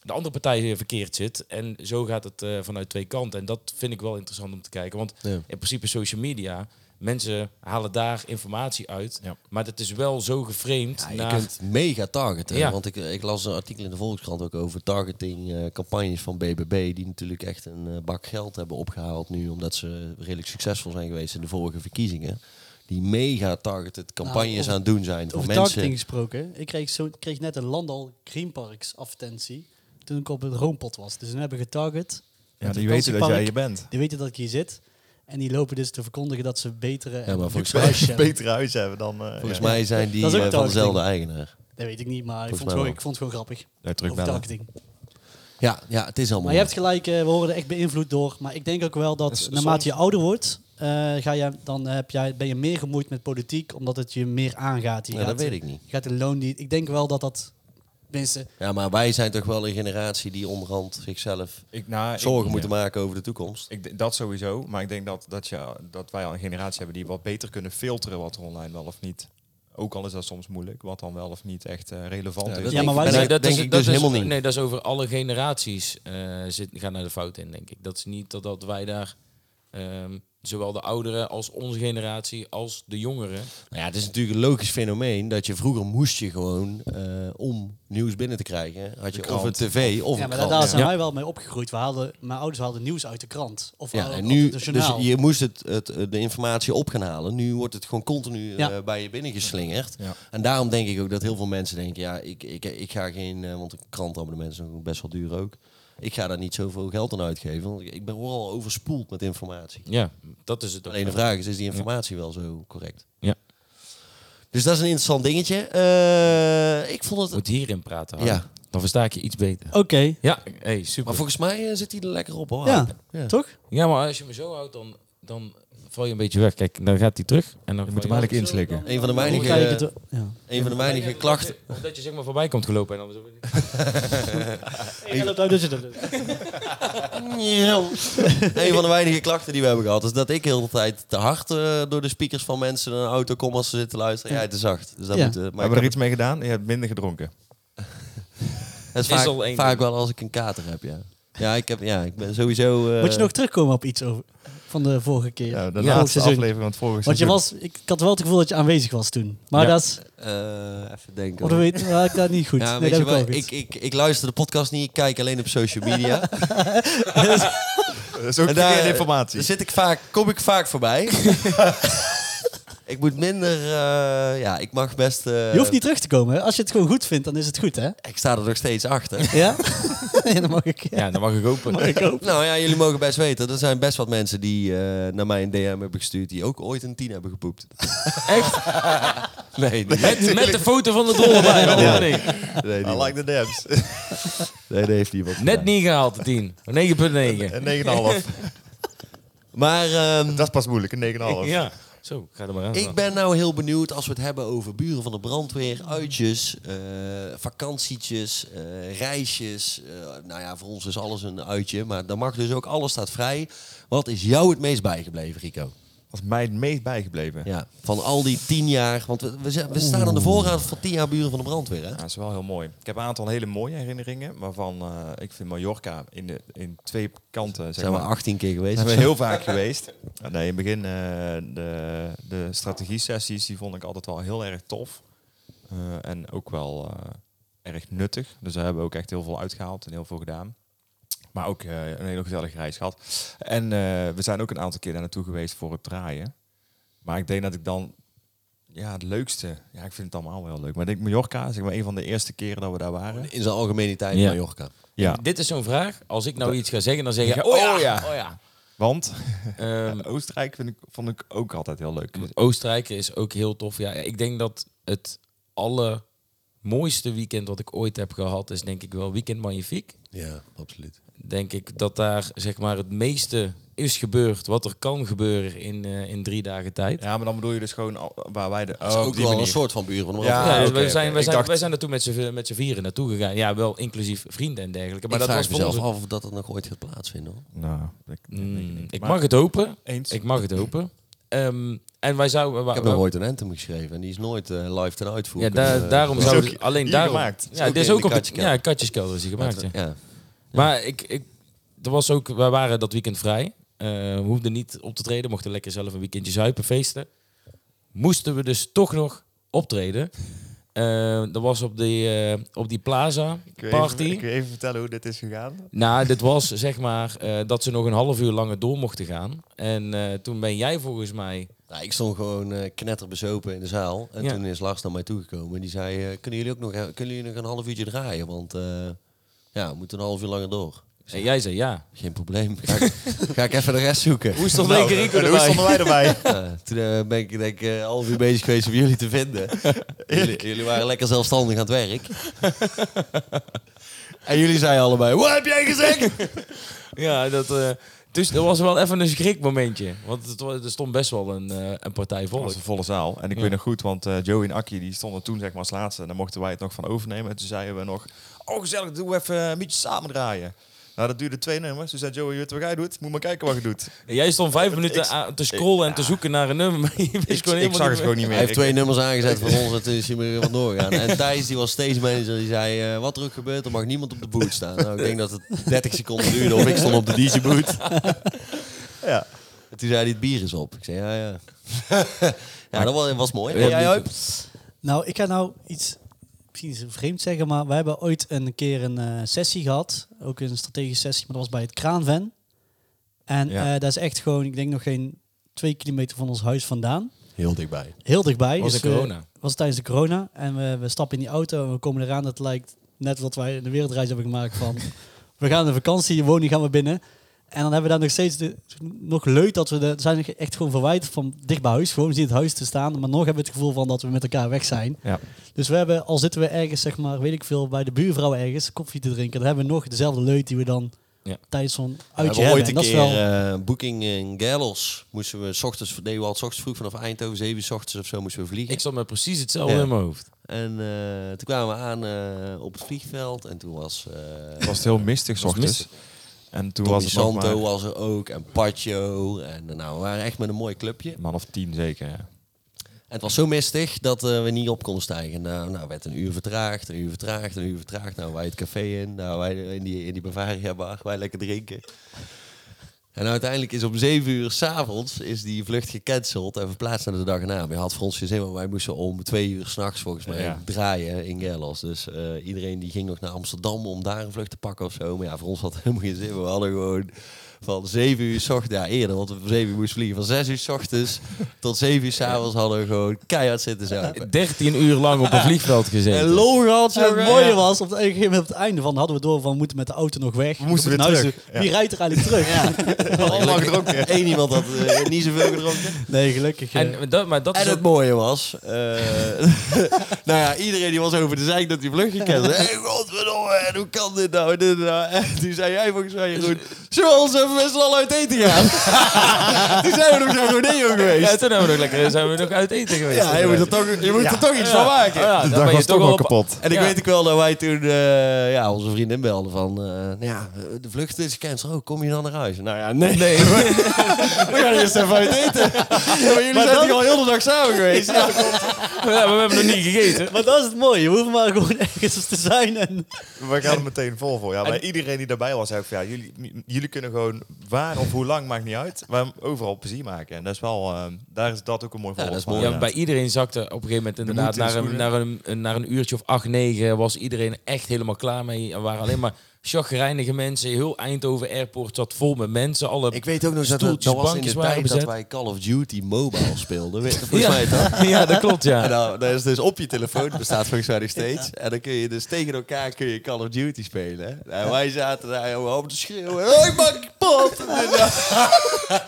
de andere partij weer verkeerd zit. En zo gaat het eh, vanuit twee kanten. En dat vind ik wel interessant om te kijken. Want Ja. in principe social media, mensen halen daar informatie uit. Ja. Maar dat is wel zo geframed Ja, je naar... kunt mega targeten. Ja. Want ik, ik las een artikel in de Volkskrant ook over targeting eh, campagnes van BBB. Die natuurlijk echt een eh, bak geld hebben opgehaald nu. Omdat ze redelijk succesvol zijn geweest in de vorige verkiezingen. Die mega targeted campagnes over- aan het doen zijn. Voor over mensen. targeting gesproken. Ik kreeg, zo, kreeg net een Landal Green Parks advertentie. Toen ik op het Roompot was. Dus hun hebben getarget. Ja, Het die weten dat jij vakantiepark. je bent. Die weten dat ik hier zit. En die lopen dus te verkondigen dat ze betere. en maar volgens luxe huisjes hebben. Beter huis hebben dan... eh, Volgens ja. mij zijn die Dat is ook eh, van targeting. dezelfde eigenaar. Dat weet ik niet, maar ik Volgens vond, het mij gewoon, wel. ik vond het gewoon grappig. Ja, over terugbellen. targeting. Ja, ja, het is allemaal. Maar je hebt gelijk, eh, we worden echt beïnvloed door. Maar ik denk ook wel dat Dus naarmate soms- je ouder wordt, eh, ga je, dan heb jij, ben je meer gemoeid met politiek, omdat het je meer aangaat. Je ja, dat gaat- weet ik niet. Je gaat de loon die. Ik denk wel dat dat. Mensen, Ja, maar wij zijn toch wel een generatie die onderhand zichzelf Ik, nou, ik- zorgen ja. moeten maken over de toekomst. Ik, d- dat sowieso, maar ik denk dat, dat, je, dat wij al een generatie hebben die wat beter kunnen filteren wat er online wel of niet. Ook al is dat soms moeilijk, wat dan wel of niet echt eh, relevant Ja, is. dat Ja, maar wij en zijn- dat denk ik dus is, helemaal niet. Nee, dat is over alle generaties eh zit, gaan naar de fout in, denk ik. Dat is niet dat, dat wij daar, ehm, zowel de ouderen als onze generatie, als de jongeren. Nou ja, het is natuurlijk een logisch fenomeen dat je vroeger moest je gewoon eh, om nieuws binnen te krijgen. Had je of een krant. tv of ja, een maar daar, krant. daar zijn Ja. wij wel mee opgegroeid. We haalden, mijn ouders haalden nieuws uit de krant. Of Ja, uit en nu, het dus journaal. je moest het, het, eh, de informatie op gaan halen. Nu wordt het gewoon continu eh, Ja. bij je binnengeslingerd. Ja. En daarom denk ik ook dat heel veel mensen denken, ja, ik, ik, ik ga geen, eh, want een krantabonnement is nog best wel duur ook. Ik ga daar niet zoveel geld aan uitgeven, want ik ben vooral overspoeld met informatie. Ja, dat is het ook. Alleen de vraag is, is die informatie wel zo correct? Ja. Dus dat is een interessant dingetje. Eh, ik vond het... Moet hierin praten, Harm. Ja. dan versta ik je iets beter. Oké, Ja, hey, super. Maar volgens mij eh, zit hij er lekker op hoor. Ja. ja. toch? ja, maar als je me zo houdt, dan, dan val je een beetje weg. Kijk, dan gaat hij terug. En dan Je moet hem eigenlijk inslikken. Een van de Hoe ga ik weinige, het, ja. een van de weinige klachten. Dat je zeg maar voorbij komt gelopen. En dan... Hey, loopt uit, dus je dat doet. een van de weinige klachten die we hebben gehad is dat ik heel de tijd te hard eh, door de speakers van mensen in een auto kom als ze zitten luisteren. Jij te zacht. Dus dat Ja. moet, eh, maar hebben we ik er iets mee gedaan? Je hebt minder gedronken. heb- het is is vaak, al één vaak ding. wel als ik een kater heb, ja. Ja, ik, heb, ja, ik ben sowieso... eh, Moet je nog terugkomen op iets over? van de vorige keer. Ja, de Vorig laatste seizoen. aflevering van het vorige Want je seizoen. was, ik, ik had wel het gevoel dat je aanwezig was toen. Maar Ja. dat is, Eh, even denken. of hoor. dat weet had ik dat niet goed. Ja, nee, weet dat je heb ik wel, ook ik, niet. ik, ik luister de podcast niet, ik kijk alleen op social media. Dat is ook En daar- eh, verkeerde informatie. Daar zit ik vaak, kom ik vaak voorbij. ik moet minder, eh, ja, ik mag best... eh, Je hoeft niet terug te komen. hè. Als je het gewoon goed vindt, dan is het goed, hè? Ik sta er nog steeds achter. Ja? ja, dan mag ik. Ja. Ja, dan mag ik open. nou ja, jullie mogen best weten, er zijn best wat mensen die eh, naar mij een DM hebben gestuurd die ook ooit een 10 hebben gepoept. Echt? Nee, die- Met, met de foto van de dol erbij. dat hoor ik. nee, die- I Ah, like the dabs. nee, dat heeft niemand. Net gedaan. niet gehaald, de 10. 9,9. Een 9,5. Maar ehm, Dat is pas moeilijk, een 9,5. Ja. Zo, ga er maar aan. ik ben nou heel benieuwd als we het hebben over buren van de brandweer, uitjes, eh, vakantietjes, eh, reisjes. eh, nou ja, voor ons is alles een uitje, maar dan mag dus ook alles staat vrij. Wat is jou het meest bijgebleven, Rico? Dat is mij het meest bijgebleven. Ja, van al die tien jaar, want we, we, zijn- we staan aan de voorraad van tien jaar buren van de brandweer, hè? Ja, dat is wel heel mooi. Ik heb een aantal hele mooie herinneringen, waarvan eh, ik vind Mallorca in, de, in twee kanten... Zeg Zijn we maar, 18 keer geweest? zijn we heel vaak geweest. Ah, Nee, in het begin eh, de, de strategie-sessies, die vond ik altijd wel heel erg tof. Eh, en ook wel eh, erg nuttig. Dus daar hebben we ook echt heel veel uitgehaald en heel veel gedaan. Maar ook eh, een hele gezellige reis gehad. En eh, we zijn ook een aantal keer daar naartoe geweest voor het draaien. Maar ik denk dat ik dan... Ja, het leukste. Ja, ik vind het allemaal wel leuk. Maar ik denk Mallorca, zeg maar, een van de eerste keren dat we daar waren. In zijn algemeniteit Ja. Mallorca. Ja, Dit is zo'n vraag. Als ik nou iets ga zeggen, dan zeg je... Oh ja, oh ja. want Ehm, Oostenrijk vind ik, vond ik ook altijd heel leuk. Oostenrijk is ook heel tof. Ja, ik denk dat het allermooiste weekend wat ik ooit heb gehad is denk ik wel Weekend Magnifiek. Ja, absoluut. Denk ik dat daar zeg maar het meeste is gebeurd wat er kan gebeuren in, eh, in drie dagen tijd. Ja, maar dan bedoel je dus gewoon al- waar wij de... Dat is oh, op ook die wel een manier. soort van buren van de Ja, brandweer. ja, dus oké, wij, zijn, oké. wij, Ik zijn, dacht- wij zijn er toen met z'n met z'n vieren naartoe gegaan. Ja, wel inclusief vrienden en dergelijke. Maar ik dat vraag was voor mezelf ons... af of dat, dat nog ooit gaat plaatsvinden. Hoor. Nou, ik, Mm, ik Maar- mag het hopen. Eens. Ik mag het hopen. Ehm, en wij zouden... Ik heb nog ooit een anthem geschreven en die is nooit eh, live ten uitvoer. Ja, kunnen, daar- eh, daarom is zou ook ik alleen hier daarom. gemaakt. Is Ja, ook dit is in ook de op het katjeskelder. ja, katjeskelder is die gemaakt. ja. Ja. Maar ik, ik, er was ook, wij waren dat weekend vrij. Eh, we hoefden niet op te treden, mochten lekker zelf een weekendje zuipen, feesten. Moesten we dus toch nog optreden. Eh dat was op, de, eh, op die plaza wil party. Even, ik wil even vertellen hoe dit is gegaan. Nou, dit was zeg maar eh, dat ze nog een half uur langer door mochten gaan. En eh, toen ben jij volgens mij... Nou, ik stond gewoon eh, knetterbezopen in de zaal en Ja. toen is Lars naar mij toegekomen en die zei, eh, kunnen jullie ook nog, kunnen jullie nog een half uurtje draaien? Want eh, ja, we moeten een half uur langer door. En jij zei ja. Geen probleem. Ga ik, ga ik even de rest zoeken. Hoe stond Nou, en hoe stonden wij erbij? Ja, toen eh, ben ik denk ik eh, een half uur bezig geweest om jullie te vinden. jullie, jullie waren lekker zelfstandig aan het werk. en jullie zeiden allebei, wat heb jij gezegd? Ja, dat, eh, dus dat was wel even een schrikmomentje. Want het, wa- er stond best wel een, eh, een partij Het volk. was een volle zaal. En ik Ja. weet nog goed, want eh Joey en Akkie die stonden toen zeg maar als laatste. En daar mochten wij het nog van overnemen. En toen zeiden we nog, oh gezellig, doen we even een beetje samen draaien. Nou, dat duurde twee nummers. Toen zei Joey, weet je wat jij doet? Moet maar kijken wat je doet. En jij stond vijf minuten ik- aan- te scrollen en te zoeken naar een nummer. Maar je wist Ik, gewoon ik helemaal zag het niet gewoon niet Hij meer. heeft Ik- twee nummers aangezet voor ons en toen is hij weer van doorgaan. En Thijs, die was steeds manager, die zei, eh, wat er ook gebeurt, er mag niemand op de boot staan. Nou, ik denk dat het 30 seconden duurde of ik stond op de DJ boot. Ja. En toen zei hij, het bier is op. Ik zei, ja, ja. ja, dat was, was mooi. Ja, En jij ook? die- Nou, ik ga nou iets misschien is het vreemd zeggen, maar wij hebben ooit een keer een eh, sessie gehad. Ook een strategische sessie, maar dat was bij het Kraanven. En Ja. eh, dat is echt gewoon, ik denk nog geen twee kilometer van ons huis vandaan. Heel dichtbij. Heel dichtbij. Was dus de we- corona. eh, was het tijdens de corona. En we, we stappen in die auto en we komen eraan. Het lijkt net wat wij de wereldreis hebben gemaakt van... we gaan een vakantie, je woning gaan we binnen. En dan hebben we daar nog steeds... De, nog leuk dat we... De, zijn echt gewoon verwijderd van dicht bij huis. Gewoon we zien het huis te staan. Maar nog hebben we het gevoel van dat we met elkaar weg zijn. Ja. Dus we hebben, al zitten we ergens, zeg maar, weet ik veel, bij de buurvrouw ergens koffie te drinken. Dan hebben we nog dezelfde leuk die we dan Ja. tijdens zo'n We uitje hebben ooit hebben. een En dat is keer wel... eh boeking in Galos. Moesten we 's ochtends, deden we al 's ochtends vroeg vanaf Eindhoven, 7 uur 's ochtends of zo moesten we vliegen. Ik zat met precies hetzelfde Ja. in mijn hoofd. En eh, toen kwamen we aan eh, op het vliegveld en toen was... eh Het was heel mistig 's was ochtends. En toen Tommy was het nog maar Santo was er ook en Pacho. En eh, nou, we waren echt met een mooi clubje. een man of tien zeker. ja. En het was zo mistig dat eh, we niet op konden stijgen. Nou, nou, werd een uur vertraagd, een uur vertraagd, een uur vertraagd. Nou, wij het café in, nou, wij in die, in die Bavaria bar, wij lekker drinken. En uiteindelijk is om 7 uur s'avonds is die vlucht gecanceld en verplaatst naar de dag erna. Maar je had Frans Gezin, maar wij moesten om twee uur s'nachts volgens mij Ja. draaien in Gerlos. Dus eh, iedereen die ging nog naar Amsterdam om daar een vlucht te pakken of zo. Maar ja, voor ons had het helemaal geen zin. We hadden gewoon van 7 uur s ochtends, ja eerder, want we om 7 uur moesten vliegen. Van 6 uur s ochtends tot 7 uur s'avonds hadden we gewoon keihard zitten zuipen. 13 uur lang op een vliegveld gezeten. En lol gehad, En het jongen. mooie was, op het, een gegeven moment op het einde van hadden we door van we moeten met de auto nog weg. We moesten We weer naar terug, huis ja. Wie rijdt er eigenlijk terug? Allemaal gedronken. Eén iemand had eh, niet zoveel gedronken. Nee, gelukkig. eh, En dat, maar Dus dat is En ook- het mooie was, eh, nou ja, iedereen die was over de zeik dat die vlucht gekend had. Hey, godverdomme, en hoe kan dit nou? en Dit en nou? En toen zei jij volgens mij, Jeroen, zullen we ons even met z'n allen uit eten gaan? toen zijn we nog naar Rodeo Ja, geweest. toen hebben we nog lekker, zijn we nog uit eten geweest. Ja, je moet er toch, je moet er toch iets van maken. Ja, dan De ben dag je was toch wel al op- kapot. En ik Ja. weet ook wel dat wij toen eh, ja, onze vriendin belden van, eh, nou ja, de vlucht is gecanceld. Oh, kom je dan naar huis? Nou ja, nee. we gaan eerst even uit eten. maar jullie zijn toch al heel de dag samen geweest? Ja. Ja, maar we hebben nog niet gegeten. maar dat is het mooie. Je hoeft maar gewoon ergens te zijn. En, We gaan er meteen vol voor. Ja, maar iedereen die daarbij was, zei ook van ja, jullie, m- jullie kunnen gewoon waar of hoe lang, maakt niet uit, maar overal plezier maken. En dat is wel, ehm, daar is dat ook een mooi Ja, dat voorbeeld is van. mooi. Ja, maar bij iedereen zakte op een gegeven moment inderdaad moed in de naar een, schoenen. naar, een, een- naar een uurtje of acht, negen was iedereen echt helemaal klaar mee. Er waren alleen maar chagrijnige mensen. Heel Eindhoven Airport zat vol met mensen. Alle Ik weet ook nog dat dat, Stoeltjes, dat was in de bankjes waren tijd dat bezet. wij Call of Duty Mobile speelden. Weet je, volgens ja. mij is dat. ja, dat klopt, En ja. nou, dat is dus op je telefoon, dat bestaat volgens mij nog steeds. En dan kun je dus tegen elkaar kun je Call of Duty spelen. En wij zaten daar helemaal op te schreeuwen. Oh, ik maak kapot! En dan-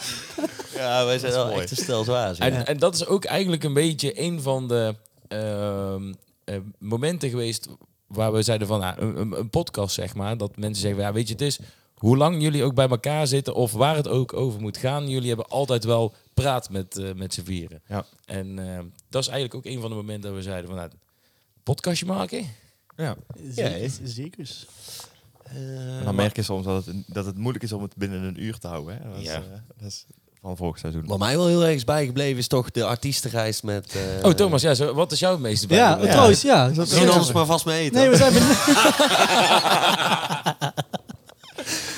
ja, wij zijn wel mooi. echt een stel zwaar. zeg. En, en dat is ook eigenlijk een beetje een van de ehm, eh, momenten geweest waar we zeiden van nou, een, een- een podcast, zeg maar. Dat mensen zeggen, ja, weet je, het is hoe lang jullie ook bij elkaar zitten of waar het ook over moet gaan. Jullie hebben altijd wel praat met, eh, met z'n vieren. Ja. En eh, dat is eigenlijk ook een van de momenten dat we zeiden van nou, podcastje maken. Eh, Ja. Ja. Zeker. Eh, En dan merk je soms dat het, dat het moeilijk is om het binnen een uur te houden. Hè? Dat, is, Ja. eh, dat is van vorig seizoen. Wat mij wel heel erg is bijgebleven is toch de artiestenreis met... eh, oh, Thomas, ja, zo, wat is jouw meeste bij? Ja, oh, trouwens, ja. Misschien anders maar vast mee eten. Nee, we zijn benieuwd.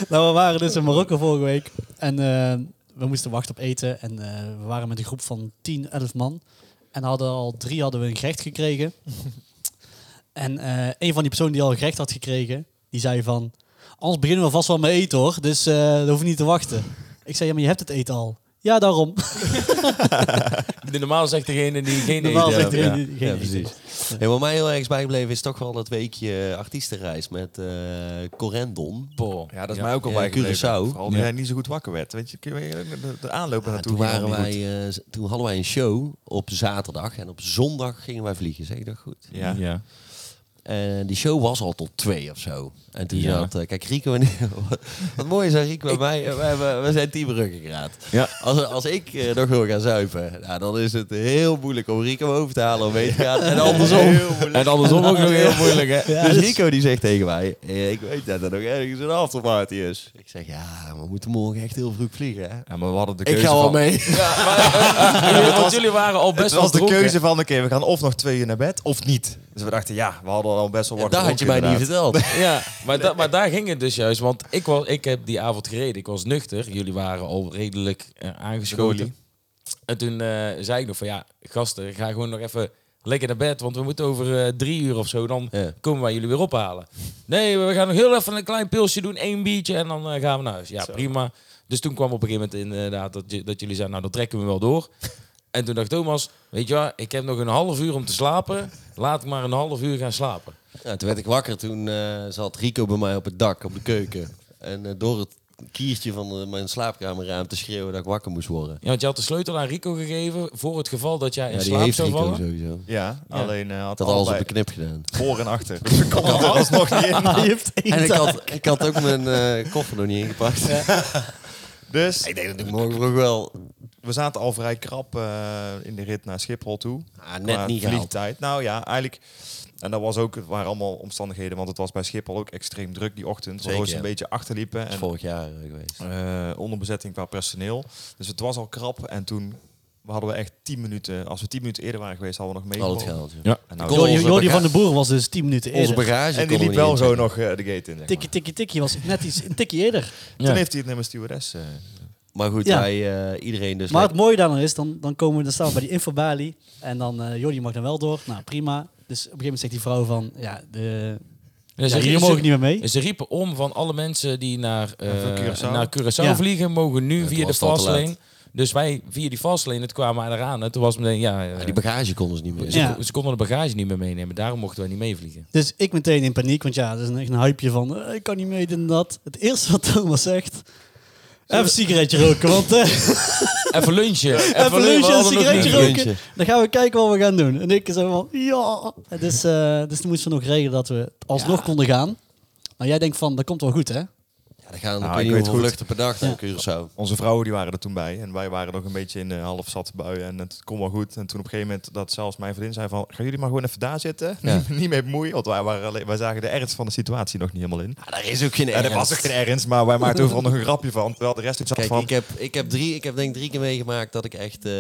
nou, we waren dus in Marokko vorige week. En eh, we moesten wachten op eten. En eh, we waren met een groep van 10, 11 man. En hadden al drie hadden we een gerecht gekregen. en eh, een van die personen die al een gerecht had gekregen, die zei van... Anders beginnen we vast wel met eten hoor, dus eh daar hoef je niet te wachten. Ik zei, ja, maar je hebt het eten al. Ja, daarom. De normaal zegt degene die geen Normaal idee zegt heeft. Ja. iedereen die- geen Ja, eten. precies. En wat mij heel erg is bijgebleven is toch wel dat weekje artiestenreis met eh, Corendon. Paul. Ja, dat is Ja. mij ook al Ja, bij Curaçao. Vooral omdat jij niet zo goed wakker werd. Weet je, kun je de, de aanloop Oh, Ja, naartoe toen, ging al waren niet wij, eh, z- toen hadden wij een show op zaterdag en op zondag gingen wij vliegen, zeg ik dat goed? goed. Ja. Ja. En Eh, die show was al tot twee of zo. En toen Ja. zat, eh, kijk Rico en wat mooi is aan Rico en mij, eh, wij, hebben- wij zijn team ruggengraat. Ja. Als, als ik eh, nog wil gaan zuipen, nou, dan is het heel moeilijk om Rico over te halen om mee te gaan en andersom. En andersom ook nog heel moeilijk, hè? Ja, dus dus- Rico die zegt tegen mij, eh, ik weet dat er nog ergens een afterparty is. Ik zeg, ja, we moeten morgen echt heel vroeg vliegen hè. Ja, maar we hadden de Ik keuze ga wel van... mee. eh, Want jullie waren al best Het was wel de dronken. keuze van, oké, we gaan of nog twee uur naar bed, of niet. Dus we dachten, ja, we hadden al best wel wat Dat had je mij niet verteld. Ja, maar, da- maar daar ging het dus juist. Want ik, was, ik heb die avond gereden. Ik was nuchter. Jullie waren al redelijk eh, aangeschoten. En toen eh, zei ik nog van ja, gasten, ga gewoon nog even lekker naar bed. Want we moeten over eh, drie uur of zo. Dan Ja. komen wij jullie weer ophalen. Nee, we gaan nog heel even een klein pilsje doen. één biertje en dan eh, gaan we naar huis. Ja, prima. Dus toen kwam op een gegeven moment inderdaad dat, je- dat jullie zeiden, nou, dat trekken we wel door. En toen dacht Thomas, weet je wat, ik heb nog een half uur om te slapen. Laat ik maar een half uur gaan slapen. Ja, toen werd ik wakker. Toen eh, zat Rico bij mij op het dak, op de keuken. En eh, door het kiertje van eh, mijn slaapkamerraam te schreeuwen dat ik wakker moest worden. Ja, want je had de sleutel aan Rico gegeven voor het geval dat jij in Ja, die slaap heeft zou Rico vallen. sowieso. Ja, alleen eh, had Dat had alles op allebei de knip gedaan. voor en achter. Dus we konden er alsnog niet in. Je hebt eten. En ik had, ik had ook mijn eh, koffer nog niet ingepakt. Dus Ik denk dat ik morgen vroeg wel... we zaten al vrij krap eh, in de rit naar Schiphol toe. Ah, net Qua niet gehaald. vliegtijd. Nou ja, eigenlijk... En dat was ook, het waren allemaal omstandigheden, want het was bij Schiphol ook extreem druk die ochtend. Zeker, Waardoor ze ja. een beetje achterliepen. Dat is En vorig jaar eh, geweest. eh onderbezetting qua personeel. Dus het was al krap. En toen hadden we echt 10 minuten. Als we 10 minuten eerder waren geweest, hadden we nog mee. Al het geld. ja. En, De nou, goal- Jordi, onze Jordi baga- van den Boer was dus 10 minuten Onze eerder. bagage en die liep konden we wel niet zo inchecken. nog eh, de gate in. Zeg maar. Tikkie, tikkie, tikkie was net iets, een tikkie eerder. Toen Ja. heeft hij het nummer stewardess. eh, Maar goed, Ja. wij, eh, iedereen dus... Maar het mooie daarvan is, dan, dan komen we dan staan we bij die infobalie. En dan, eh joh, die mag dan wel door. Nou, prima. Dus op een gegeven moment zegt die vrouw van, ja, de, Dus ja, hier mogen niet meer mee. Ze riepen om van alle mensen die naar, eh, van Curaçao. naar Curaçao Ja. vliegen, mogen nu Ja, toen via de was het al te fastlane. Dus wij via die fastlane, het kwamen we eraan. En toen was meteen, ja, eh, Ja, Ah, die bagage konden ze niet meer. ze, Ja. ze konden de bagage niet meer meenemen. Daarom mochten wij niet meevliegen. Dus ik meteen in paniek, want ja, dat is een, echt een hypeje van, eh, ik kan niet mee, dit en dat. Het eerste wat Thomas zegt, even een sigaretje roken, want eh, Even lunchen. even lunchen en een sigaretje niet. roken. Lunchen. Dan gaan we kijken wat we gaan doen. En ik zei van, ja. En Dus, eh, dus toen moesten we nog regelen dat we alsnog konden gaan. Maar jij denkt van, dat komt wel goed, hè? Ja, dan gaan Nou, nou, ik je weet hoeveel goed. vluchten per dag naar Curaçao. Onze vrouwen die waren er toen bij en wij waren nog een beetje in de half zat bui en het kon wel goed. En toen op een gegeven moment dat zelfs mijn vriendin zei van, gaan jullie maar gewoon even daar zitten? Ja. niet mee bemoeien, want wij, waren alleen, wij zagen de ernst van de situatie nog niet helemaal in. Ja, daar is ook geen En er was ook geen ernst, maar wij maakten overal nog een grapje van. Terwijl de rest ook zat Kijk, van, ik heb, ik, heb drie, ik heb denk ik drie keer meegemaakt dat ik echt eh,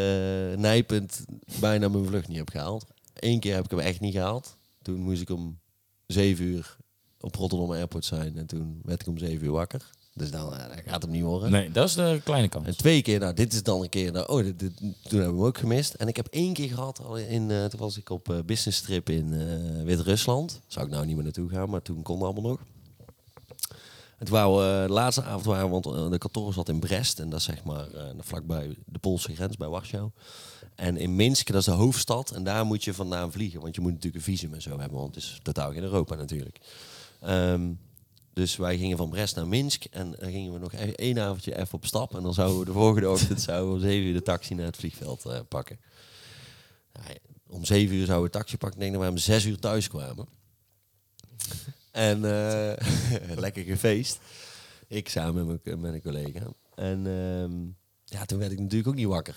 nijpend bijna mijn vlucht niet heb gehaald. Eén keer heb ik hem echt niet gehaald. Toen moest ik om zeven uur op Rotterdam Airport zijn. En toen werd ik om zeven uur wakker. Dus dan, eh, dat gaat hem niet horen. Nee, dat is de kleine kant. En twee keer, nou dit is dan een keer, nou, oh, dit, dit- toen hebben we hem ook gemist. En ik heb één keer gehad, al in, eh, toen was ik op eh, business trip in eh, Wit-Rusland. Zou ik nou niet meer naartoe gaan, maar toen kon dat allemaal nog. En toen waren we, eh, de laatste avond waren we, want eh, de kantoor zat in Brest. En dat is zeg maar eh, vlakbij de Poolse grens, bij Warschau. En in Minsk, dat is de hoofdstad. En daar moet je vandaan vliegen, want je moet natuurlijk een visum en zo hebben. Want het is totaal geen Europa natuurlijk. Ehm, dus wij gingen van Brest naar Minsk en dan gingen we nog e- één avondje even op stap. En dan zouden we de volgende ochtend zouden we om zeven uur de taxi naar het vliegveld eh, pakken. Nou, om zeven uur zouden we de taxi pakken. Ik denk dat we om zes uur thuis kwamen. En eh, lekker gefeest. Ik samen met mijn, met een collega. En ehm, ja, toen werd ik natuurlijk ook niet wakker.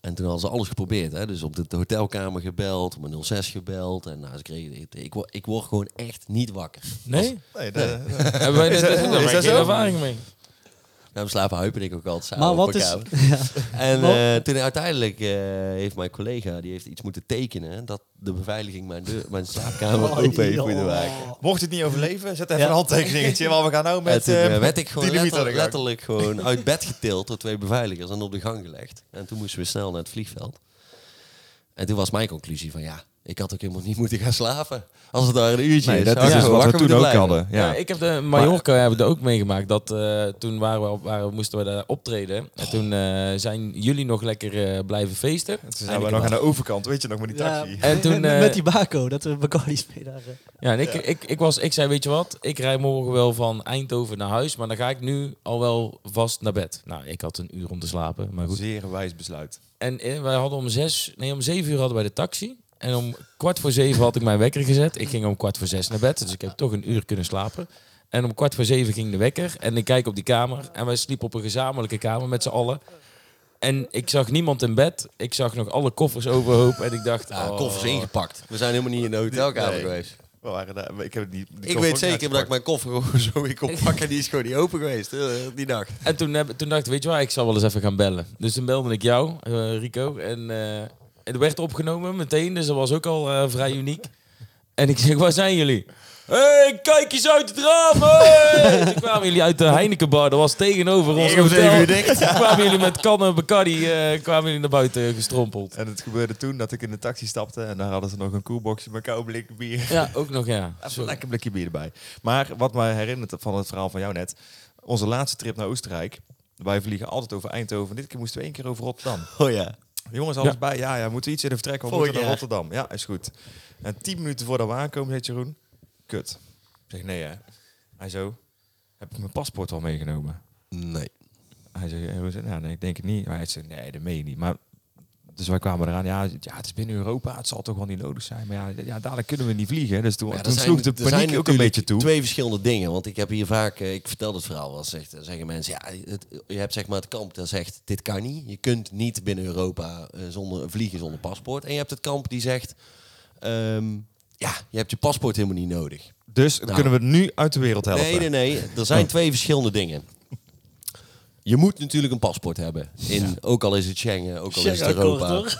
En toen hadden ze alles geprobeerd. Hè? Dus op de hotelkamer gebeld, op mijn 06 gebeld. En nou, ze kregen, ik, ik, word- ik word gewoon echt niet wakker. Nee? nee, de- Hebben wij daar hebben wij dat geen zo? ervaring mee? Nou, we slapen huipen ik ook altijd samen Maar op wat is... elkaar. Ja. En Wat- eh, toen uiteindelijk eh, heeft mijn collega die heeft iets moeten tekenen dat de beveiliging mijn, deur, mijn slaapkamer open heeft moeten maken. mocht je het niet overleven, zet even Ja. een handtekeningetje. Maar we gaan nou Met, met... toen eh, eh, werd ik gewoon 10 letter- liter aan de gang. letterlijk gewoon uit bed getild door twee beveiligers en op de gang gelegd. En toen moesten we snel naar het vliegveld. En toen was mijn conclusie van ja, ik had ook helemaal niet moeten gaan slapen. Als het daar een uurtje Nee, is, dat zou is ik dus gewoon wat we wakker toen ook moeten blijven. hadden. Ja. Ja. ik heb de Mallorca hebben we dat ook meegemaakt. Dat eh, toen waren we, op- waren, we- moesten we daar optreden. En toen eh, zijn jullie nog lekker eh, blijven feesten. En Toen zijn we nog aan de overkant, weet je nog, maar die Ja. taxi. En toen, eh, Met die Baco, dat we Bacardi's mee daar... eh. Ja, en ik, Ik, ik, was, ik zei, weet je wat, ik rij morgen wel van Eindhoven naar huis, maar dan ga ik nu al wel vast naar bed. Nou, ik had een uur om te slapen, maar goed. Zeer wijs besluit. En eh, wij hadden om zes, nee, om zeven uur hadden wij de taxi. En om kwart voor zeven had ik mijn wekker gezet. Ik ging om kwart voor zes naar bed, dus ik heb toch een uur kunnen slapen. En om kwart voor zeven ging de wekker. En ik kijk op die kamer. En wij sliepen op een gezamenlijke kamer met z'n allen. En ik zag niemand in bed. Ik zag nog alle koffers overhoop. En ik dacht, Ja, oh. koffers ingepakt. We zijn helemaal niet in de hotelkamer Nee. geweest. We waren daar, maar ik heb het niet... die Ik koffer weet ook zeker niet dat ik mijn koffer gewoon zo weer kon pakken. Die is gewoon niet open geweest eh, die dag. En toen, heb, toen dacht ik, weet je waar, ik zal wel eens even gaan bellen. Dus toen belde ik jou, eh, Rico. En eh, het werd opgenomen meteen, dus dat was ook al eh, vrij uniek. En ik zeg, waar zijn jullie? Hé, hey, kijk eens uit het raam! hey! Toen kwamen jullie uit de Heinekenbar, dat was tegenover ons Ik heb hotel. zeven uur dicht. Toen kwamen jullie met kannen Bacardi eh, kwamen jullie naar buiten gestrompeld. En het gebeurde toen dat ik in de taxi stapte en daar hadden ze nog een koelboxje met koud blik bier. Ja, ook nog ja. Even Zo. een lekker blikje bier erbij. Maar wat mij herinnert van het verhaal van jou net. Onze laatste trip naar Oostenrijk. Wij vliegen altijd over Eindhoven. Dit keer moesten we één keer over Rotterdam. Oh ja. Jongens, alles Ja. bij. Ja, ja, moeten we iets in de vertrek. We Vorig moeten naar jaar. Rotterdam. Ja, is goed. En tien minuten voordat we aankomen, zegt Jeroen. Kut. Ik zeg, nee hè. Hij zo, heb ik mijn paspoort al meegenomen? Nee. Hij zei, eh, hoe is het? nou, nee, ik denk het niet. Maar hij zei, nee, dat meen je niet. Maar, dus wij kwamen eraan, ja, ja, het is binnen Europa, het zal toch wel niet nodig zijn. Maar ja, ja dadelijk kunnen we niet vliegen. Dus toen, Ja, er toen zijn- sloeg de er zijn paniek ook een natuurlijk beetje toe. Twee verschillende dingen. Want ik heb hier vaak, eh, ik vertel het verhaal wel eens, zegt, zeggen mensen, ja, het, je hebt zeg maar het kamp dat zegt, dit kan niet. Je kunt niet binnen Europa eh, zonder, vliegen zonder paspoort. En je hebt het kamp die zegt, ehm, ja, je hebt je paspoort helemaal niet nodig. Dus Nou. kunnen we het nu uit de wereld helpen. Nee, nee, nee. Er Oh. zijn twee verschillende dingen. Je moet natuurlijk een paspoort hebben. In, Ook al is het Schengen, ook al is het Schengen-akkoord, Europa.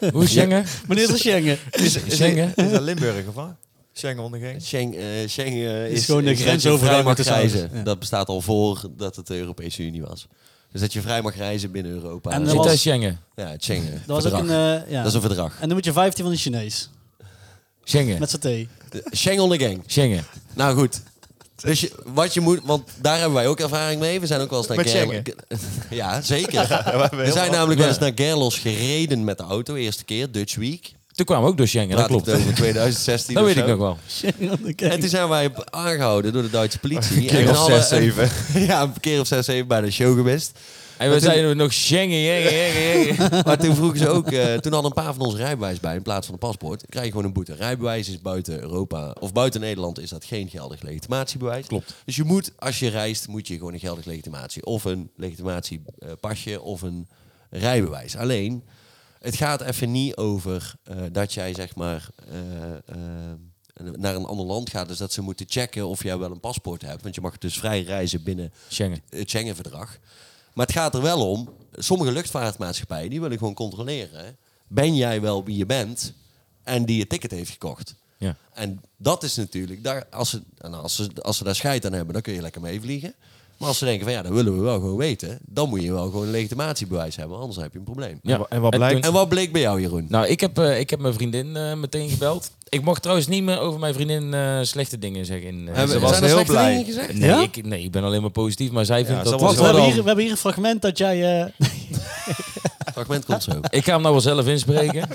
hoor. Hoe is Schengen? Meneer de Schengen. Is, is, Schengen? is dat Limburg of wat? Schengen onder gang. Schengen eh, Schengen, eh, Is is, gewoon de is dat grens je over vrij daar mag tussen ouders. reizen. Ja. Dat bestaat al voor dat het de Europese Unie was. Dus dat je vrij mag reizen binnen Europa. En er dat Zit was- daar Schengen? ja, het Schengen. Dat was ook een... verdrag. eh, ja. Dat is een verdrag. En dan moet je 15 van de Chinees. Schengen. Met saté. De- Schengen on the gang. Schengen. Nou goed. Dus je- wat je moet, want daar hebben wij ook ervaring mee. We zijn ook wel eens naar Met Gerlo- Ja, zeker. we zijn namelijk wel eens Ja. naar Gerlos gereden met de auto. Eerste keer, Dutch Week. Toen kwamen we ook door Schengen, dat Praat ik klopt. het over 2016 Dat of weet ik zo. nog wel. En toen zijn wij aangehouden door de Duitse politie. keer en of alle- zes, zeven. ja, een keer of zes, zeven bij de show geweest. En we zeiden nog Schengen, Schengen, Schengen, Schengen. Maar toen vroegen ze ook, eh, toen hadden een paar van ons rijbewijs bij in plaats van een paspoort. Krijg je gewoon een boete. Rijbewijs is buiten Europa of buiten Nederland is dat geen geldig legitimatiebewijs. Klopt. Dus je moet, als je reist, moet je gewoon een geldig legitimatie of een legitimatiepasje eh, of een rijbewijs. Alleen, het gaat even niet over eh, dat jij zeg maar eh, eh, naar een ander land gaat. Dus dat ze moeten checken of jij wel een paspoort hebt. Want je mag dus vrij reizen binnen Schengen. het eh, Schengen-verdrag. Maar het gaat er wel om, sommige luchtvaartmaatschappijen die willen gewoon controleren, ben jij wel wie je bent en die je ticket heeft gekocht. Ja. En dat is natuurlijk, daar, als, ze, en als, ze, als ze daar scheid aan hebben, dan kun je lekker mee vliegen. Maar als ze denken van ja, dat willen we wel gewoon weten, dan moet je wel gewoon een legitimatiebewijs hebben, anders heb je een probleem. Ja. En wat blijkt? En wat bleek bij jou, Jeroen? Nou, ik heb, eh, ik heb mijn vriendin eh, meteen gebeld. Ik mocht trouwens niet meer over mijn vriendin eh, slechte dingen zeggen. In, eh, Hebben- ze ze was- was zijn er heel slechte blij. dingen gezegd? nee, Ja? ik, nee, ik ben alleen maar positief, maar zij vindt ze dat... was Wacht, we wel hebben, al- hier, we hebben hier een fragment dat jij... eh, Fragment komt zo. Ik ga hem nou wel zelf inspreken.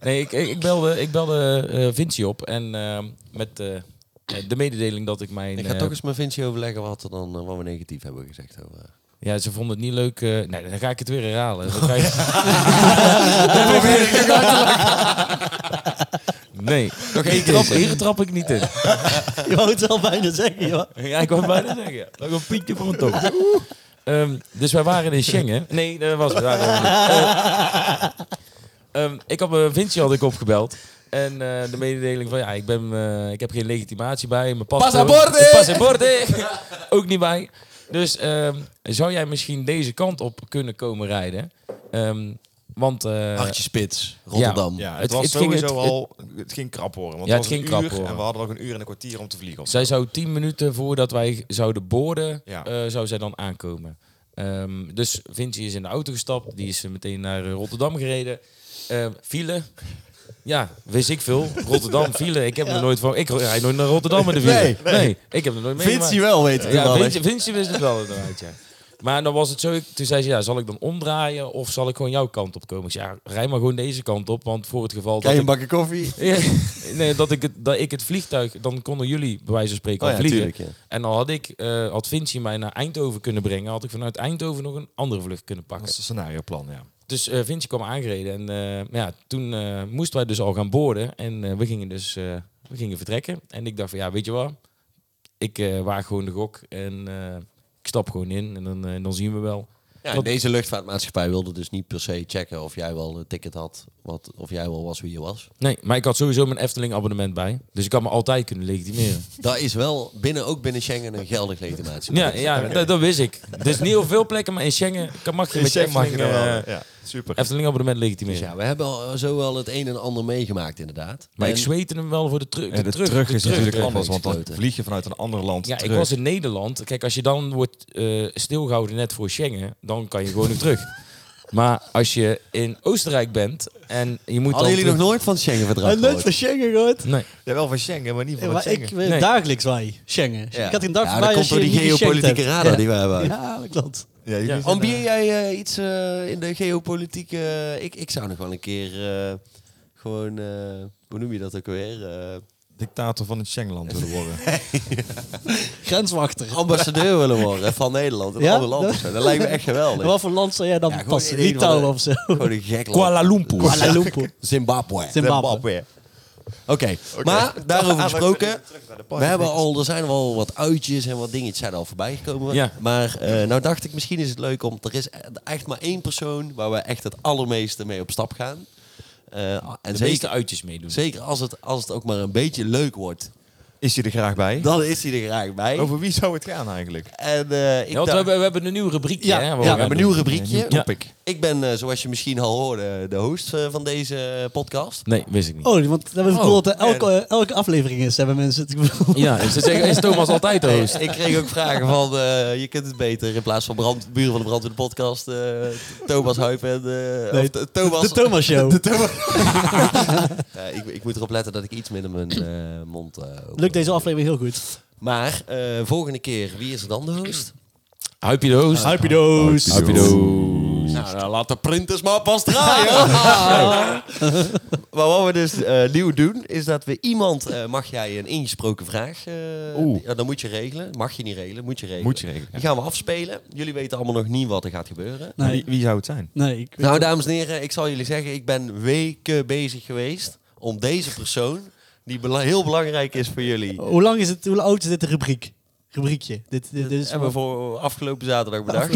nee, ik, ik ik belde, ik belde eh, Vinci op en eh, met eh, de mededeling dat ik mijn... Ik ga eh, toch eens met Vinci overleggen wat, er dan, eh, wat we negatief hebben gezegd over. eh, ja, ze vonden het niet leuk. eh, nee, dan ga ik het weer herhalen. Dan ga ik- nee, nog één trap, hier trap ik niet in. je wou het wel bijna zeggen, joh. Ja, ik wou bijna zeggen. Nog een pietje voor een tong. Ehm, dus wij waren in Schengen. Nee, dat was het. Daar waren we niet. Eh, ehm, ik had mijn Vinci had ik opgebeld. En eh, de mededeling van ja, ik, ben, eh, ik heb geen legitimatie bij. Mijn paspoort. Passaporte! Passaporte! Ook niet bij. Dus ehm, zou jij misschien deze kant op kunnen komen rijden? Ehm, want. eh, Hartje Spits, Rotterdam. Ja, het, Het- was het ging- sowieso het- al... Het ging krap horen. Want Ja, het het was ging een krap uur horen. En we hadden nog een uur en een kwartier om te vliegen. of zo. Zij zou tien minuten voordat wij zouden boorden, Ja. eh, zou zij dan aankomen. Ehm, dus Vinci is in de auto gestapt. Die is eh, meteen naar eh, Rotterdam gereden. Eh file. Ja, wist ik veel. Rotterdam, file. Ik heb er nooit van... Ik rijd nooit naar Rotterdam in de file. Nee, Nee, ik heb er nooit mee. Vinci wel weet het Ja, wel. hè? Vinci, Vinci wist het wel inderdaad, ja. Maar dan was het zo, ik, toen zei ze, ja, zal ik dan omdraaien of zal ik gewoon jouw kant op komen? Ik zei, ja, rij maar gewoon deze kant op, want voor het geval Krijg dat je ik een bakje koffie? ja, nee, dat ik, het, dat ik het vliegtuig, dan konden jullie bij wijze van spreken al Oh ja, vliegen. tuurlijk, ja. En dan had ik, eh had Vinci mij naar Eindhoven kunnen brengen, had ik vanuit Eindhoven nog een andere vlucht kunnen Dat pakken. is een scenarioplan, ja. Dus eh Vinci kwam aangereden en eh, maar ja, toen eh, moesten wij dus al gaan boorden en eh, we gingen dus eh, we gingen vertrekken. En ik dacht van ja, weet je wat, ik eh waag gewoon de gok en eh, ik stap gewoon in en dan, eh, dan zien we wel. Ja, Want- deze luchtvaartmaatschappij wilde dus niet per se checken of jij wel een ticket had, wat, of jij wel was wie je was. Nee, maar ik had sowieso mijn Efteling abonnement bij, dus ik had me altijd kunnen legitimeren. Dat is wel binnen, ook binnen Schengen een geldig legitimatie. Ja, ja dat, dat wist ik. Dus niet op veel plekken, maar in Schengen kan, mag je met je mag je Efteling, dan wel. eh, ja, super. Efteling abonnement Dus legitimeren. ja, we hebben al, zo wel het een en ander meegemaakt inderdaad. maar ik En- zweette hem wel voor de, terug. Ja, de terug, is natuurlijk terug. anders, want dan Kloten. vlieg je vanuit een ander land Ja, ik terug. was in Nederland. Kijk, als je dan wordt eh, stilgehouden net voor Schengen, dan kan je gewoon weer terug. Maar als je in Oostenrijk bent en je moet Hadden dan jullie nog terug- nooit van het Schengen-verdrag En leuk gehoord? van Schengen, gehoord. Nee. Ja, wel van Schengen, maar niet Ja, van maar het Schengen. ik, eh, Nee. Dagelijks wij, Schengen. Ja. Ik had een dag ja, voorbij dat komt als je door die niet geschenkt geopolitieke radar Ja. die wij hebben. Ja, dat klopt. Ja, jullie Ja. zijn, Ambieer jij eh, iets eh, in de geopolitieke... eh, ik, ik zou nog wel een keer eh, gewoon... eh, hoe noem je dat ook weer? Eh, eh, dictator van het Schengenland willen worden. Grenswachter. ambassadeur willen worden van Nederland. Een Ja? ander land of zo. Dat lijkt me echt geweldig. En wat voor land zou jij dan Ja, gewoon passen? in een Litouwen van of zo? Gewoon een gek land. Kuala Lumpur. Kuala Lumpur. Zimbabwe. Zimbabwe. Oké, maar daarover gesproken. Terug naar de We hebben al, er zijn wel wat uitjes en wat dingetjes zijn al voorbij gekomen. Ja. Maar eh, nou dacht ik, misschien is het leuk om. Er is echt maar één persoon waar we echt het allermeeste mee op stap gaan. Eh, en De zeker, meeste uitjes meedoen. zeker als, het, als het ook maar een beetje leuk wordt. Is hij er graag bij? Dan is hij er graag bij. Over wie zou het gaan eigenlijk? En eh, ik Ja, want we dacht- hebben, we hebben een nieuw rubriekje. Ja, hè, ja, wat we we gaan hebben een nieuw doen. rubriekje. Een nieuw topic. Ik ben, eh, zoals je misschien al hoorde, de host eh, van deze podcast. Nee, wist ik niet. Oh, want dat Oh, bedoel dat elke, eh, elke aflevering is, hebben mensen het gevoel. Ja, ze zeggen, is Thomas altijd de host? Eh, Ik kreeg ook vragen van, eh, je kunt het beter in plaats van brand, buren van de brandweer de podcast, eh, Thomas Huip en eh, Nee, of, eh, Thomas. De Thomas Show. Eh, ik, ik moet erop letten dat ik iets minder mijn eh, mond. eh, open Lukt deze doe. aflevering heel goed. Maar eh, volgende keer, wie is er dan de host? Huipje de host. Hypidoos. Huipje de host. Nou, dan laat de printers maar pas draaien. maar wat we dus eh, nieuw doen, is dat we iemand... eh, mag jij een ingesproken vraag... eh, Oeh. ja, dan moet je regelen. Mag je niet regelen, moet je regelen. Moet je regelen. Die gaan we afspelen. Jullie weten allemaal nog niet wat er gaat gebeuren. Nee, Wie, wie zou het zijn? nee ik weet Nou, dames en heren, ik zal jullie zeggen... ik ben weken bezig geweest om deze persoon... die bela- heel belangrijk is voor jullie... Hoe lang is het, hoe oud is dit de rubriek? Rubriekje. Dit, dit, dit is hebben we voor afgelopen zaterdag bedacht.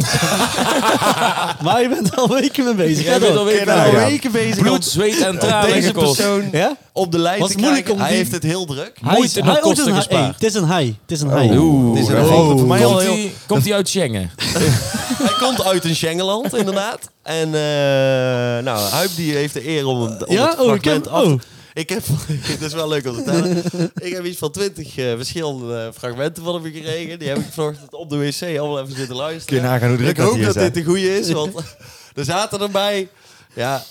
Maar je bent al weken mee bezig. Jij hè, bent toch? al weken Ik ben al mee bezig. weken bezig om Bloed, zweet en tranen deze gekost. persoon Ja? op de lijn Was te het moeilijk krijgen. om Hij die- heeft het heel druk. Hij is- Moeite nog hij- oh, het is kosten een hi- gespaard. Oh. hey, Het is een high. Het is een high. Dit is een dat hele- vond ik voor mij al Komt heel- hij- Komt hij uit Schengen? Hij komt uit een Schengenland, inderdaad. En eh nou, Huip die heeft de eer om, om Ja? het Oh, ik fragment heb- af te... oh. Ik heb, het is wel leuk om te tellen. ik heb iets van twintig verschillende eh, fragmenten van hem gekregen. Die heb ik vanochtend op de wc allemaal even zitten Kun luisteren. je nagaan hoe druk ik hoop hier dat is, hè? dit de goede is, want er zaten erbij... Ja,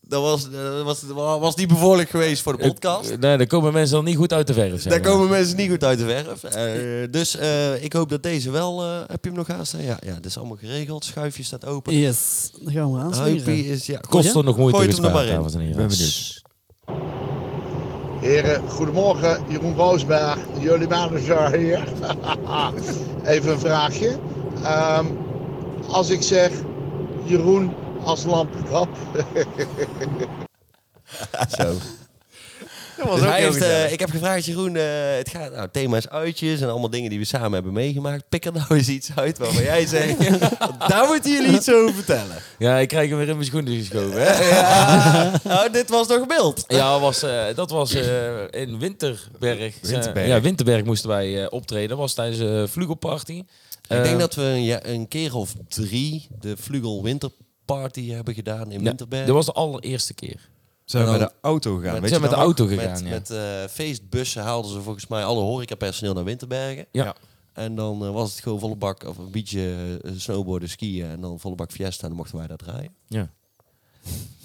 dat was, eh, was, was niet bevoorlijk geweest voor de podcast. Nee, daar komen mensen dan niet goed uit de verf. zeg Daar maar. komen mensen niet goed uit de verf. Eh, dus eh, ik hoop dat deze wel... eh, heb je hem nog aanstaan? Ja, ja, dit is allemaal geregeld. Schuifje staat open. Yes. Dan gaan we Huipie aansmeren. is... Ja, Kost er nog moeite Gooi het hem er gespaard, maar in. dames en heren. Ik ben benieuwd. Heren, goedemorgen. Jeroen Roosberg, jullie manager hier. Even een vraagje. Ehm, als ik zeg Jeroen als lampenkap. Dat was Dus ook hij heel heeft, eh, gezellig. ik heb gevraagd, Jeroen, eh, het gaat, nou, het thema is uitjes en allemaal dingen die we samen hebben meegemaakt. Pik er nou eens iets uit waarvan jij zegt, daar moeten jullie iets over vertellen. Ja, ik krijg hem weer in mijn schoenen geschoven. Hè? Nou, dit was nog mild. Ja, dat was, eh, dat was eh, in Winterberg. Eh, Winterberg. ja, Winterberg moesten wij eh, optreden. Dat was tijdens eh, een vlugelparty. ik denk dat we een, ja, een keer of drie de Vlugel Winterparty hebben gedaan in Winterberg. Dat was de allereerste keer. Zijn we dan- met de auto gegaan? Met- weet zijn je met de dat nog? auto gegaan. Met, ja. met eh, feestbussen haalden ze volgens mij alle horecapersoneel naar Winterbergen. Ja. En dan eh, was het gewoon volle bak, of een beetje eh, snowboarden, skiën en dan volle bak fiesta. En dan mochten wij daar draaien. Ja.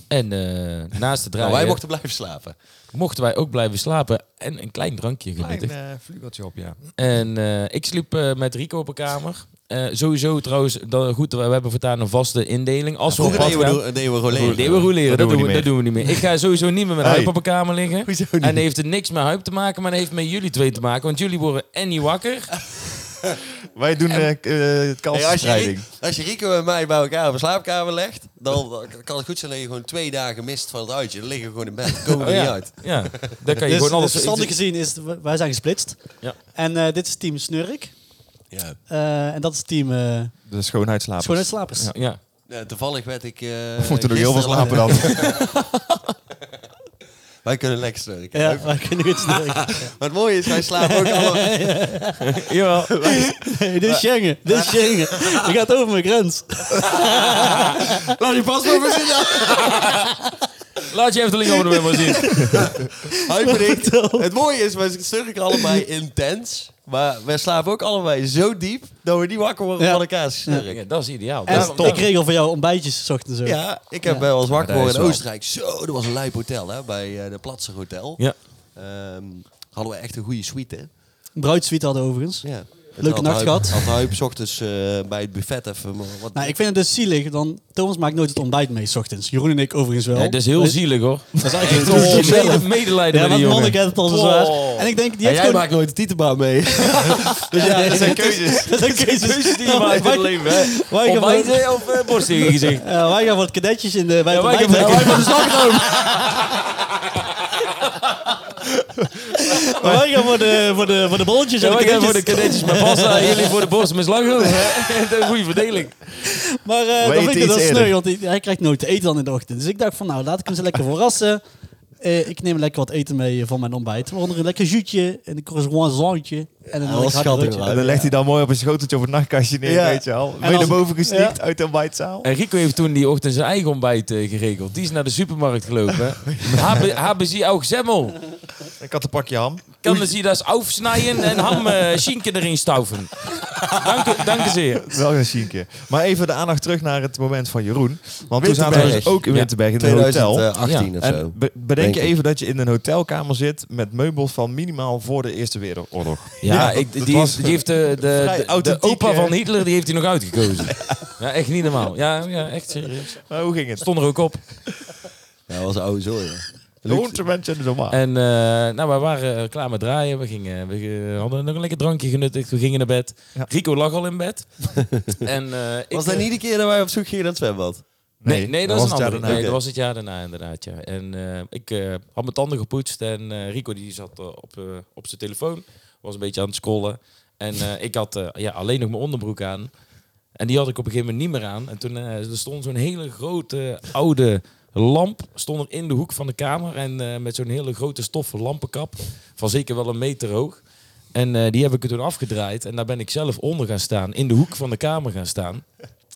En eh, naast het Nou, draaien wij mochten blijven slapen. mochten wij ook blijven slapen en een klein drankje Klein genuttigd. eh, vlugeltje op, ja. En eh, ik sliep eh, met Rico op een kamer. Eh, sowieso trouwens, dat, goed, we hebben voortaan een vaste indeling. Als we op Vroeger pad deden we, gaan, do- deden we roleren. Nee, we roleren, dat, doen we doen we, dat niet meer. doen we niet meer. Ik ga sowieso niet meer met Hey. Huip op een kamer liggen. Hoezo niet? En heeft er niks met Huip te maken, maar dat heeft met jullie twee te maken. Want jullie worden en niet wakker. Wij doen eh, k- eh, het Hey, als, je, kansenstrijding. Riek- als je Rico en mij bij elkaar op een slaapkamer legt, dan dan kan het goed zijn dat je gewoon twee dagen mist van het uitje. Dan liggen we gewoon in bed, dan komen we Oh, niet ja. uit. Ja, daar kan je Dus, gewoon dus alles... verstandig gezien is, het- wij zijn gesplitst. Ja. En eh, dit is team Snurk. Ja. Eh, en dat is team eh De schoonheidsslaap. Schoonheidsslapers. Ja, ja. Nou, toevallig werd ik... eh We moeten nog heel veel gisteren- slapen dan. Wij kunnen lekker snurken. Ja, wij kunnen goed snurken. Maar het mooie is, wij slapen ook allemaal... Jawel. Hey, dit is Schengen. Dit is Schengen. Je gaat over mijn grens. Laat je pas maar voor zitten. Laat je even de link over de maar zien. Hij bedenkt, Het mooie is, wij snurken allebei intens. Maar wij slapen ook allebei zo diep dat we niet wakker worden Ja. van elkaar snurken. Ja, dat is ideaal. En Dat is top. ik regel voor jou ontbijtjes, s ochtends ook. Ja, ik heb wel eens wakker Ja, geworden dat is in wel. Oostenrijk. Zo, dat was een lijp hotel hè, bij eh, de Platser Hotel. Ja. Ehm, hadden we echt een goede suite, hè? Bruidsuite hadden we overigens. Ja. Leuke nacht gehad. Had Huip 's ochtends eh, bij het buffet even maar wat... Nou, ik vind het dus zielig. Dan, Thomas maakt nooit het ontbijt mee, s ochtends. Jeroen en ik overigens wel. Ja, dat is heel zielig hoor. Dat is eigenlijk Toch, een mede- zelf. medelijden Ja, met die want jongen. Oh. mannen kent het al zo zwaar. En ik denk, die heeft gewoon... nooit de titelbaan mee. dus ja, dat zijn keuzes. Dat zijn keuzes Die maakt het wij, leven, hè. wij gaan voor, Ontbijten of eh, borst in je gezicht? ja, wij gaan voor het kadetjes in de, bij Ja, het wij gaan ontbijt voor- werken. Wij gaan voor de, voor de, voor de bolletjes Ja, en de wij gaan voor kadetjes. de kadetjes met pasta en jullie voor de borst met slagroom. Dat is een goede verdeling. Maar eh We dan eten vind ik het wel iets sneu, eerder. want hij, hij krijgt nooit te eten dan in de ochtend. Dus ik dacht van, nou, laat ik hem ze lekker verrassen. eh, ik neem lekker wat eten mee van mijn ontbijt. Waaronder een lekker zuutje, een croissantje en een Ah, wat lekker hard schattig, broodje. man. En dan legt hij dan mooi op een schoteltje of een nachtkastje neer, Ja. weet je al. Ben als- je naar boven gesneakt Ja. uit de ontbijtzaal? En Rico heeft toen die ochtend zijn eigen ontbijt eh, geregeld. Die is naar de supermarkt gelopen. Haben, haben Sie auch Semmel? Ik had een pakje ham. Kunnen Sie das aufschneiden en ham eh, schinken erin staufen? Dank, dank u zeer. Wel een zienke. Maar even de aandacht terug naar het moment van Jeroen. Want toen zaten we Winterberg. dus ook in Ja. Winterberg in een hotel. 2018 of zo. En be- bedenk denk je ik. even dat je in een hotelkamer zit met meubels van minimaal voor de Eerste Wereldoorlog. Ja, Ja, ik, dat die, was heeft, die heeft eh, de, de, vrij de, de authentiek, opa hè? van Hitler, die heeft hij nog uitgekozen. Ja, echt niet normaal. Ja, ja echt serieus. Maar hoe ging het? Stond er ook op. Ja, dat was een oude zooi. hè. Jeroen te mensen de normaal. En eh, nou, we waren eh, klaar met draaien. We, gingen, we eh, hadden nog een lekker drankje genuttigd. We gingen naar bed. Ja. Rico lag al in bed. en, eh, ik, Was dat eh, niet de keer dat wij op zoek gingen naar het zwembad? Nee, nee, dat, was het een jaar andere. daarna. Nee, Oké. dat was het jaar daarna inderdaad, ja. En eh, ik eh, had mijn tanden gepoetst en eh, Rico die zat eh, op, eh, op zijn telefoon. Was een beetje aan het scrollen. En eh, ik had eh, ja, alleen nog mijn onderbroek aan. En die had ik op een gegeven moment niet meer aan. En toen eh, er stond zo'n hele grote oude lamp stond er in de hoek van de kamer. En eh, met zo'n hele grote stoffen lampenkap van zeker wel een meter hoog. En eh, die heb ik er toen afgedraaid. En daar ben ik zelf onder gaan staan. In de hoek van de kamer gaan staan.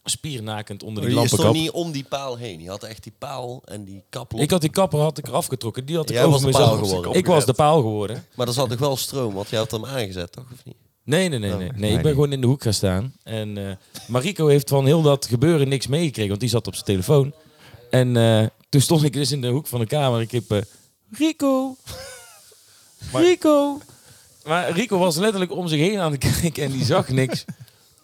Spiernakend onder die je stond lampenkap. niet om die paal heen. Je had echt die paal en die kap los. Ik had die kapper had ik eraf getrokken. Die had ik Jij over was de mezelf paal geworden. Ik was de paal geworden. Maar er zat nog wel stroom, want je had hem aangezet, toch? Of niet? Nee, nee, nee. Oh, nee. nee nee. ik ben gewoon in de hoek gaan staan. En eh Marico heeft van heel dat gebeuren niks meegekregen. Want die zat op zijn telefoon. En eh, toen stond ik dus in de hoek van de kamer. Ik heb... eh, Rico! Rico! Maar Rico was letterlijk om zich heen aan het kijken. En die zag niks.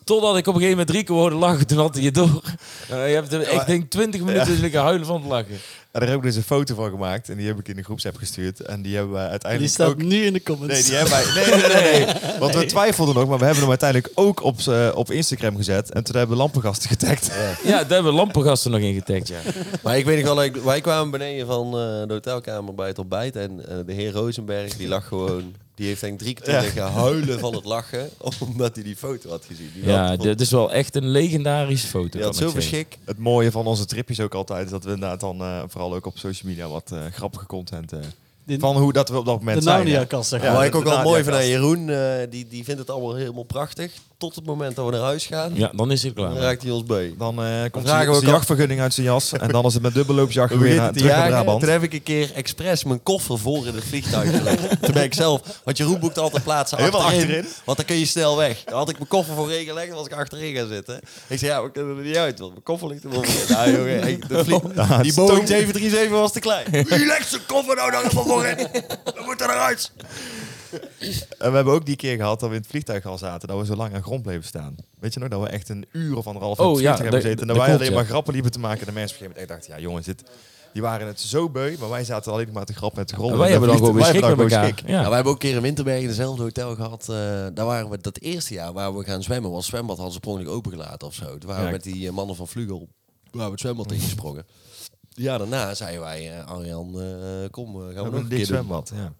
Totdat ik op een gegeven moment Rico hoorde lachen. Toen had hij het door. Eh, je hebt er echt denk 20 minuten liggen huilen van het lachen. En daar heb ik dus een foto van gemaakt. En die heb ik in de groepsapp gestuurd. En die hebben we Die uiteindelijk staat ook... nu in de comments. Nee, die hebben wij... Nee, nee, nee. nee. Want we twijfelden nog. Maar we hebben hem uiteindelijk ook op, eh, op Instagram gezet. En toen hebben we lampengasten getagd. Ja, daar hebben we lampengasten nog in getagd, ja. Maar ik weet nog wel, dat ik- wij kwamen beneden van eh, de hotelkamer bij het ontbijt. En eh, de heer Rozenberg, die lag gewoon... Die heeft denk ik drie keer Ja. liggen huilen van het lachen. Omdat hij die foto had gezien. Die Ja, had, dit is wel echt een legendarische foto. die kan had ik zoveel zeggen. schik. Het mooie van onze tripjes ook altijd is dat we inderdaad dan eh, vooral ook op social media wat eh, grappige content eh, Dit- van hoe dat we op dat de moment zijn. hè. Narnia-kast, zeg Ja, maar. Waar dat ik ook is wel Nadia mooi van aan kast. Jeroen, eh, die, die vindt het allemaal helemaal prachtig. Tot het moment dat we naar huis gaan, Ja, dan is het dan klaar. raakt hij ons bij. Dan eh, komt vragen we zijn ook zijn af- jachtvergunning uit zijn jas en dan is het met dubbelloopsjacht We weer naar, beginnen te terug naar jagen. Brabant. Toen heb ik een keer expres mijn koffer voor in het vliegtuig gelegd. toen ben ik zelf, want Jeroen boekt altijd plaatsen Helemaal achterin, achterin. Want dan kun je snel weg. Dan had ik mijn koffer voorin gelegd en was ik achterin gaan zitten. Ik zei, ja, we kunnen er niet uit, want mijn koffer ligt er wel voorin. Nou, jongen, ik- de vlieg- die Boeing 737 was te klein. Wie legt zijn koffer nou daar helemaal voorin? Dan moet er eruit. En we hebben ook die keer gehad dat we in het vliegtuig al zaten, dat we zo lang aan grond bleven staan. Weet je nog, dat we echt een uur of anderhalf in Oh, het ja, vliegtuig dat- hebben gezeten. En dat dat wij klopt, alleen ja. maar grappen liepen te maken. En de mensen op een gegeven moment echt dachten, ja jongens, dit, die waren het zo beu, maar wij zaten alleen maar te grappen en te grollen. En wij En hebben dan gewoon weer vliegtuig- schik wij met hebben elkaar. dan gewoon schik. Ja, Ja. Nou, we hebben ook een keer in Winterberg in hetzelfde hotel gehad. eh, daar waren we dat eerste jaar waar we gaan zwemmen. Want het zwembad hadden ze per ongeluk opengelaten of zo. Toen waren we Ja. met die eh, mannen van Vlugel waar we het zwembad in gesprongen. Ja, daarna zeiden wij, eh, Arjan, eh, kom, eh, gaan We we hebben nog een een keer dik doen. zwembad. Ja.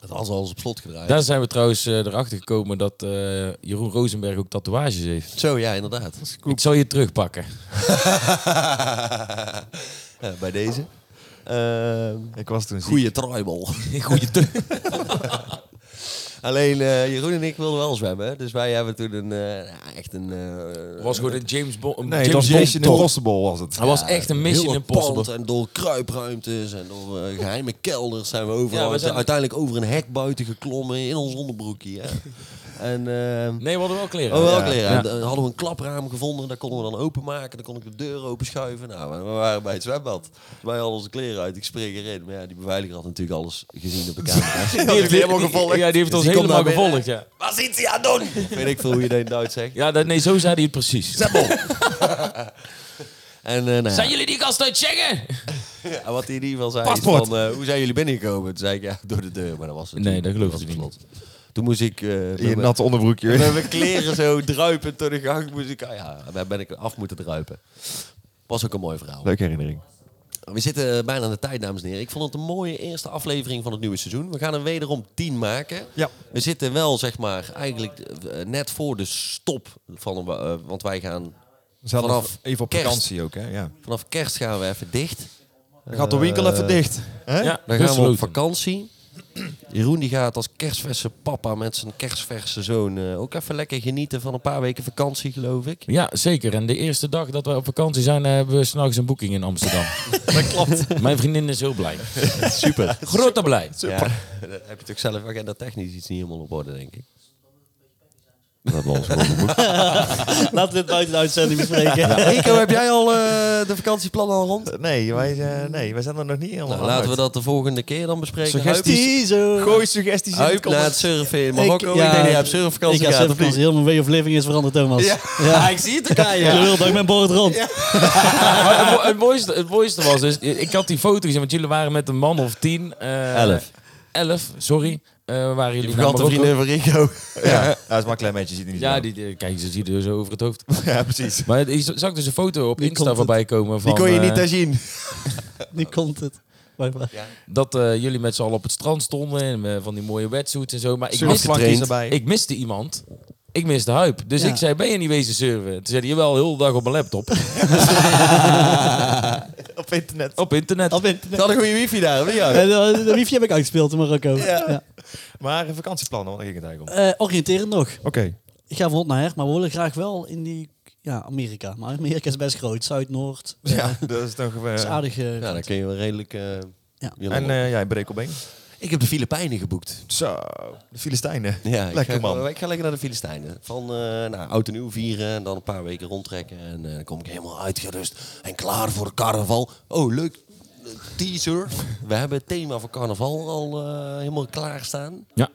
Dat hadden ze alles op slot gedraaid. Daar zijn we trouwens eh, erachter gekomen dat eh, Jeroen Rosenberg ook tatoeages heeft. Zo, ja, inderdaad. Ik zal je terugpakken. Ja, bij deze. Ehm, Ik was toen ziek. goeie tribal. Goeie te- Alleen eh, Jeroen en ik wilden wel zwemmen. hè. Dus wij hebben toen een, eh, ja, echt een... eh, was gewoon een James Bond. een Nee, James dat was Bond Mission top. Impossible was het. Hij was echt een Mission heel dat Impossible. pand En door kruipruimtes en door eh, geheime kelders zijn we overal. Ja, we uite- zijn- Uiteindelijk over een hek buiten geklommen in ons onderbroekje. Hè? en ehm, Nee, we hadden wel kleren. oh, wel Ja. kleren. Ja. En, eh, hadden we een klapraam gevonden, dat konden we dan openmaken. Dan kon ik de deur openschuiven. Nou, we we waren bij het zwembad. Wij hadden onze kleren uit, ik spring erin. Maar ja, die beveiliger had natuurlijk alles gezien op de camera. Die heeft, helemaal die- gevolgd. Ja, die heeft ons Dus die komt helemaal daar binnen. gevolgd, ja. Waar zit hij aan doen? Weet ik veel hoe je dat in Duits zegt. Ja, dat, nee, zo zei hij het precies. En, eh, nou ja. Zijn jullie die gast uit Schengen? En wat hij in ieder geval zei Paspoort. is van, eh, hoe zijn jullie binnengekomen? Toen zei ik, ja, door de deur. Maar dat was het Nee, niet. dat geloof was ik het niet. slot. Toen moest ik... eh, In je met, natte onderbroekje. mijn- met mijn kleren zo druipend door de gang moest ik... ah ja, daar ben ik af moeten druipen. Was ook een mooi verhaal. Leuke herinnering. We zitten eh, bijna aan de tijd, dames en heren. Ik vond het een mooie eerste aflevering van het nieuwe seizoen. We gaan er wederom tien maken. Ja. We zitten wel, zeg maar, eigenlijk eh, net voor de stop van... een wa- eh, want wij gaan We zaten Vanaf even op kerst. vakantie ook, hè? Ja. Vanaf kerst gaan we even dicht. Eh, Dan gaat de winkel even dicht. Hè? Ja, Dan gaan we op besloten. vakantie. Jeroen die gaat als kerstverse papa met zijn kerstverse zoon eh, ook even lekker genieten van een paar weken vakantie, geloof ik. Ja, zeker. En de eerste dag dat we op vakantie zijn, eh, hebben we s'nachts een boeking in Amsterdam. Dat klopt. Mijn vriendin is heel blij. Super. Grote blij. Ja, dan heb je toch zelf agenda technisch iets niet helemaal op orde, denk ik. We hebben ons gewoon geboekt. Laten we dit buiten de uitzending bespreken. Rico, heb jij al eh, de vakantieplannen al rond? Nee wij, eh, nee, wij zijn er nog niet helemaal Nou, laten we uit. dat de volgende keer dan bespreken. Suggesties. Zo. Gooi suggesties in de Huip naar het comments. surfen in Marokko. Ik, oh, denk dat je op surfvakantie Ik ga gaat, of surfvakantie. niet? Heel mijn way of living is veranderd, Thomas. Ja. ik zie het elkaar, Je lult dat ik mijn bord rond. Maar Ah, het, mo- het, mooiste, het mooiste was dus, ik had die foto gezien, want jullie waren met een man of tien. eh, Elf. Elf, sorry. Eh waren jullie naar Vergante Marokko. vriendin van Rico. Ja, ja, dat is maar een klein beetje. Ziet er niet Ja, zo. die, die- kijk, ze ziet er zo over het hoofd. ja, precies. Maar die z- zag dus een foto op komt Insta het? voorbij komen van... Die kon je eh, niet daar zien. Nu komt het. Wacht, wacht. dat eh, jullie met z'n allen op het strand stonden en eh, van die mooie wetsuits en zo. Maar ik Surfgetraind. miste, ik miste iemand. Ik miste Huip. Dus Ja. ik zei, ben je niet wezen surfen? Toen zei hij, jawel, heel de dag op mijn laptop. Op internet. op internet. Op internet. Ze hadden goede wifi daar, of niet? Jaap? Eh, De, de wifi heb ik uitgespeeld in Marokko. Ja. Maar eh, vakantieplannen, want daar ging het eigenlijk om. Eh, oriënteren nog. Oké. Ik ga van rond naar her, maar we willen graag wel in die... Ja, Amerika. Maar Amerika is best groot. Zuid, Noord. Dat Ja, dat is toch... eh, is aardig. eh, Ja, dan kun je wel redelijk... eh, hier en op- eh ja, Brekelbeen. ik heb de Filipijnen geboekt. Zo, de Filistijnen. Ja, ik Lekker ga, man. Ik ga lekker naar de Filistijnen. Van eh nou, oud en nieuw vieren en dan een paar weken rondtrekken. En eh, dan kom ik helemaal uitgerust en klaar voor carnaval. Oh, leuk. eh, Teaser. We hebben het thema voor carnaval al eh, helemaal klaarstaan. Ja.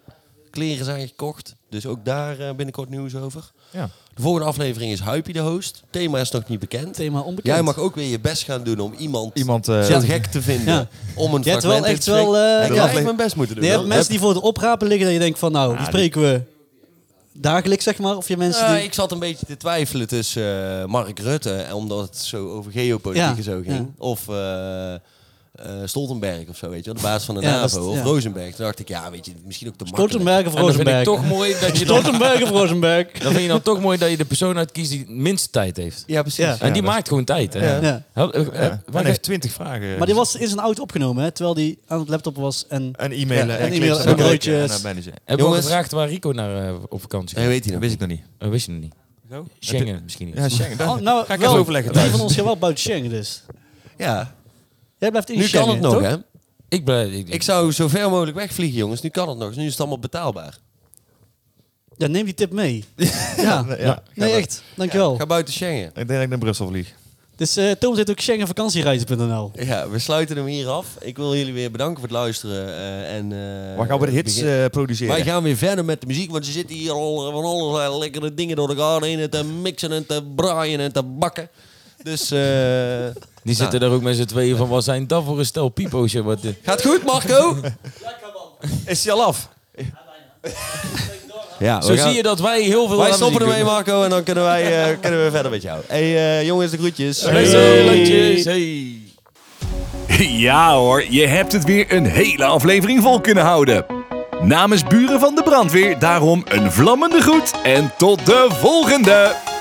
Kleren zijn gekocht. Dus ook daar eh, binnenkort nieuws over. Ja. De volgende aflevering is Huipie de host. Thema is nog niet bekend. Thema onbekend. Jij mag ook weer je best gaan doen om iemand, Iemand, eh, zo gek te vinden. Ja. Om een Je hebt fragment wel in te echt wel, spreken. eh, Ik heb ja. echt mijn best moeten doen. Nee, je hebt hoor. mensen die voor de oprapen liggen, dat je denkt van nou, die spreken we dagelijks, zeg maar. Of je mensen Ja, die... Eh, ik zat een beetje te twijfelen tussen eh, Mark Rutte, en omdat het zo over geopolitiek Ja, en zo ging. Of eh, eh, Stoltenberg of zo, weet je wel, de baas van de Ja, dat is- NAVO. Of ja. Rosenberg. Toen dacht ik, ja, weet je, misschien ook te makkelijk. Stoltenberg of En dan vind ik Rosenberg? toch mooi dat je dan, Stoltenberg of Rosenberg? dan vind je dan toch mooi dat je de persoon uitkiest die het minste tijd heeft. Ja, precies. Ja. En die maakt gewoon tijd. Hè? Ja. Ja. Hel- eh, eh, Ja. waar Man ga- heeft 20 vragen. eh, Maar die was in zijn auto opgenomen, hè, terwijl die aan het laptop was. En En e-mailen Ja, en, en nou, e-mailen clips en broodjes. kijken En manager. Hebben we al Jongens. gevraagd waar Rico naar eh, op vakantie En gaat? weet hij nog. Dat wist ik nog niet. Eh, wist je nog niet. Zo? Schengen misschien niet. Ja, Schengen. Oh, nou, ga ik wel, even overleggen Wie thuis. van ons gaat wel buiten Schengen dus. Ja, Jij blijft in nu Schengen, kan het nog, toch? hè? Ik, blijf, ik, Ik zou zo ver mogelijk wegvliegen, jongens. Nu kan het nog. Dus nu is het allemaal betaalbaar. Ja, neem die tip mee. ja. Ja, ja. Nee, echt. Dankjewel. Ga buiten Schengen. Ik denk dat ik naar Brussel vlieg. Dus eh Tom zit ook schengenvakantiereizen.nl. Ja, we sluiten hem hier af. Ik wil jullie weer bedanken voor het luisteren. eh, en, eh, Waar gaan we de hits begin- eh, produceren? Wij gaan weer verder met de muziek, want ze zitten hier al eh, van allerlei lekkere dingen door elkaar heen en te mixen en te braaien en te bakken. Dus eh, die zitten daar ook met z'n tweeën van, wat zijn dat voor een stel pipo's? joh, Wat, eh. gaat goed, Marco? Is hij al af? Ja, Zo zie je dat wij heel veel Wij aan stoppen muziek ermee, doen. Marco, en dan kunnen wij eh, kunnen we verder met jou. hey, eh, jongens, de groetjes. Hey, zo, landjes, hey. Ja hoor, je hebt het weer een hele aflevering vol kunnen houden. Namens Buren van de Brandweer daarom een vlammende groet en tot de volgende!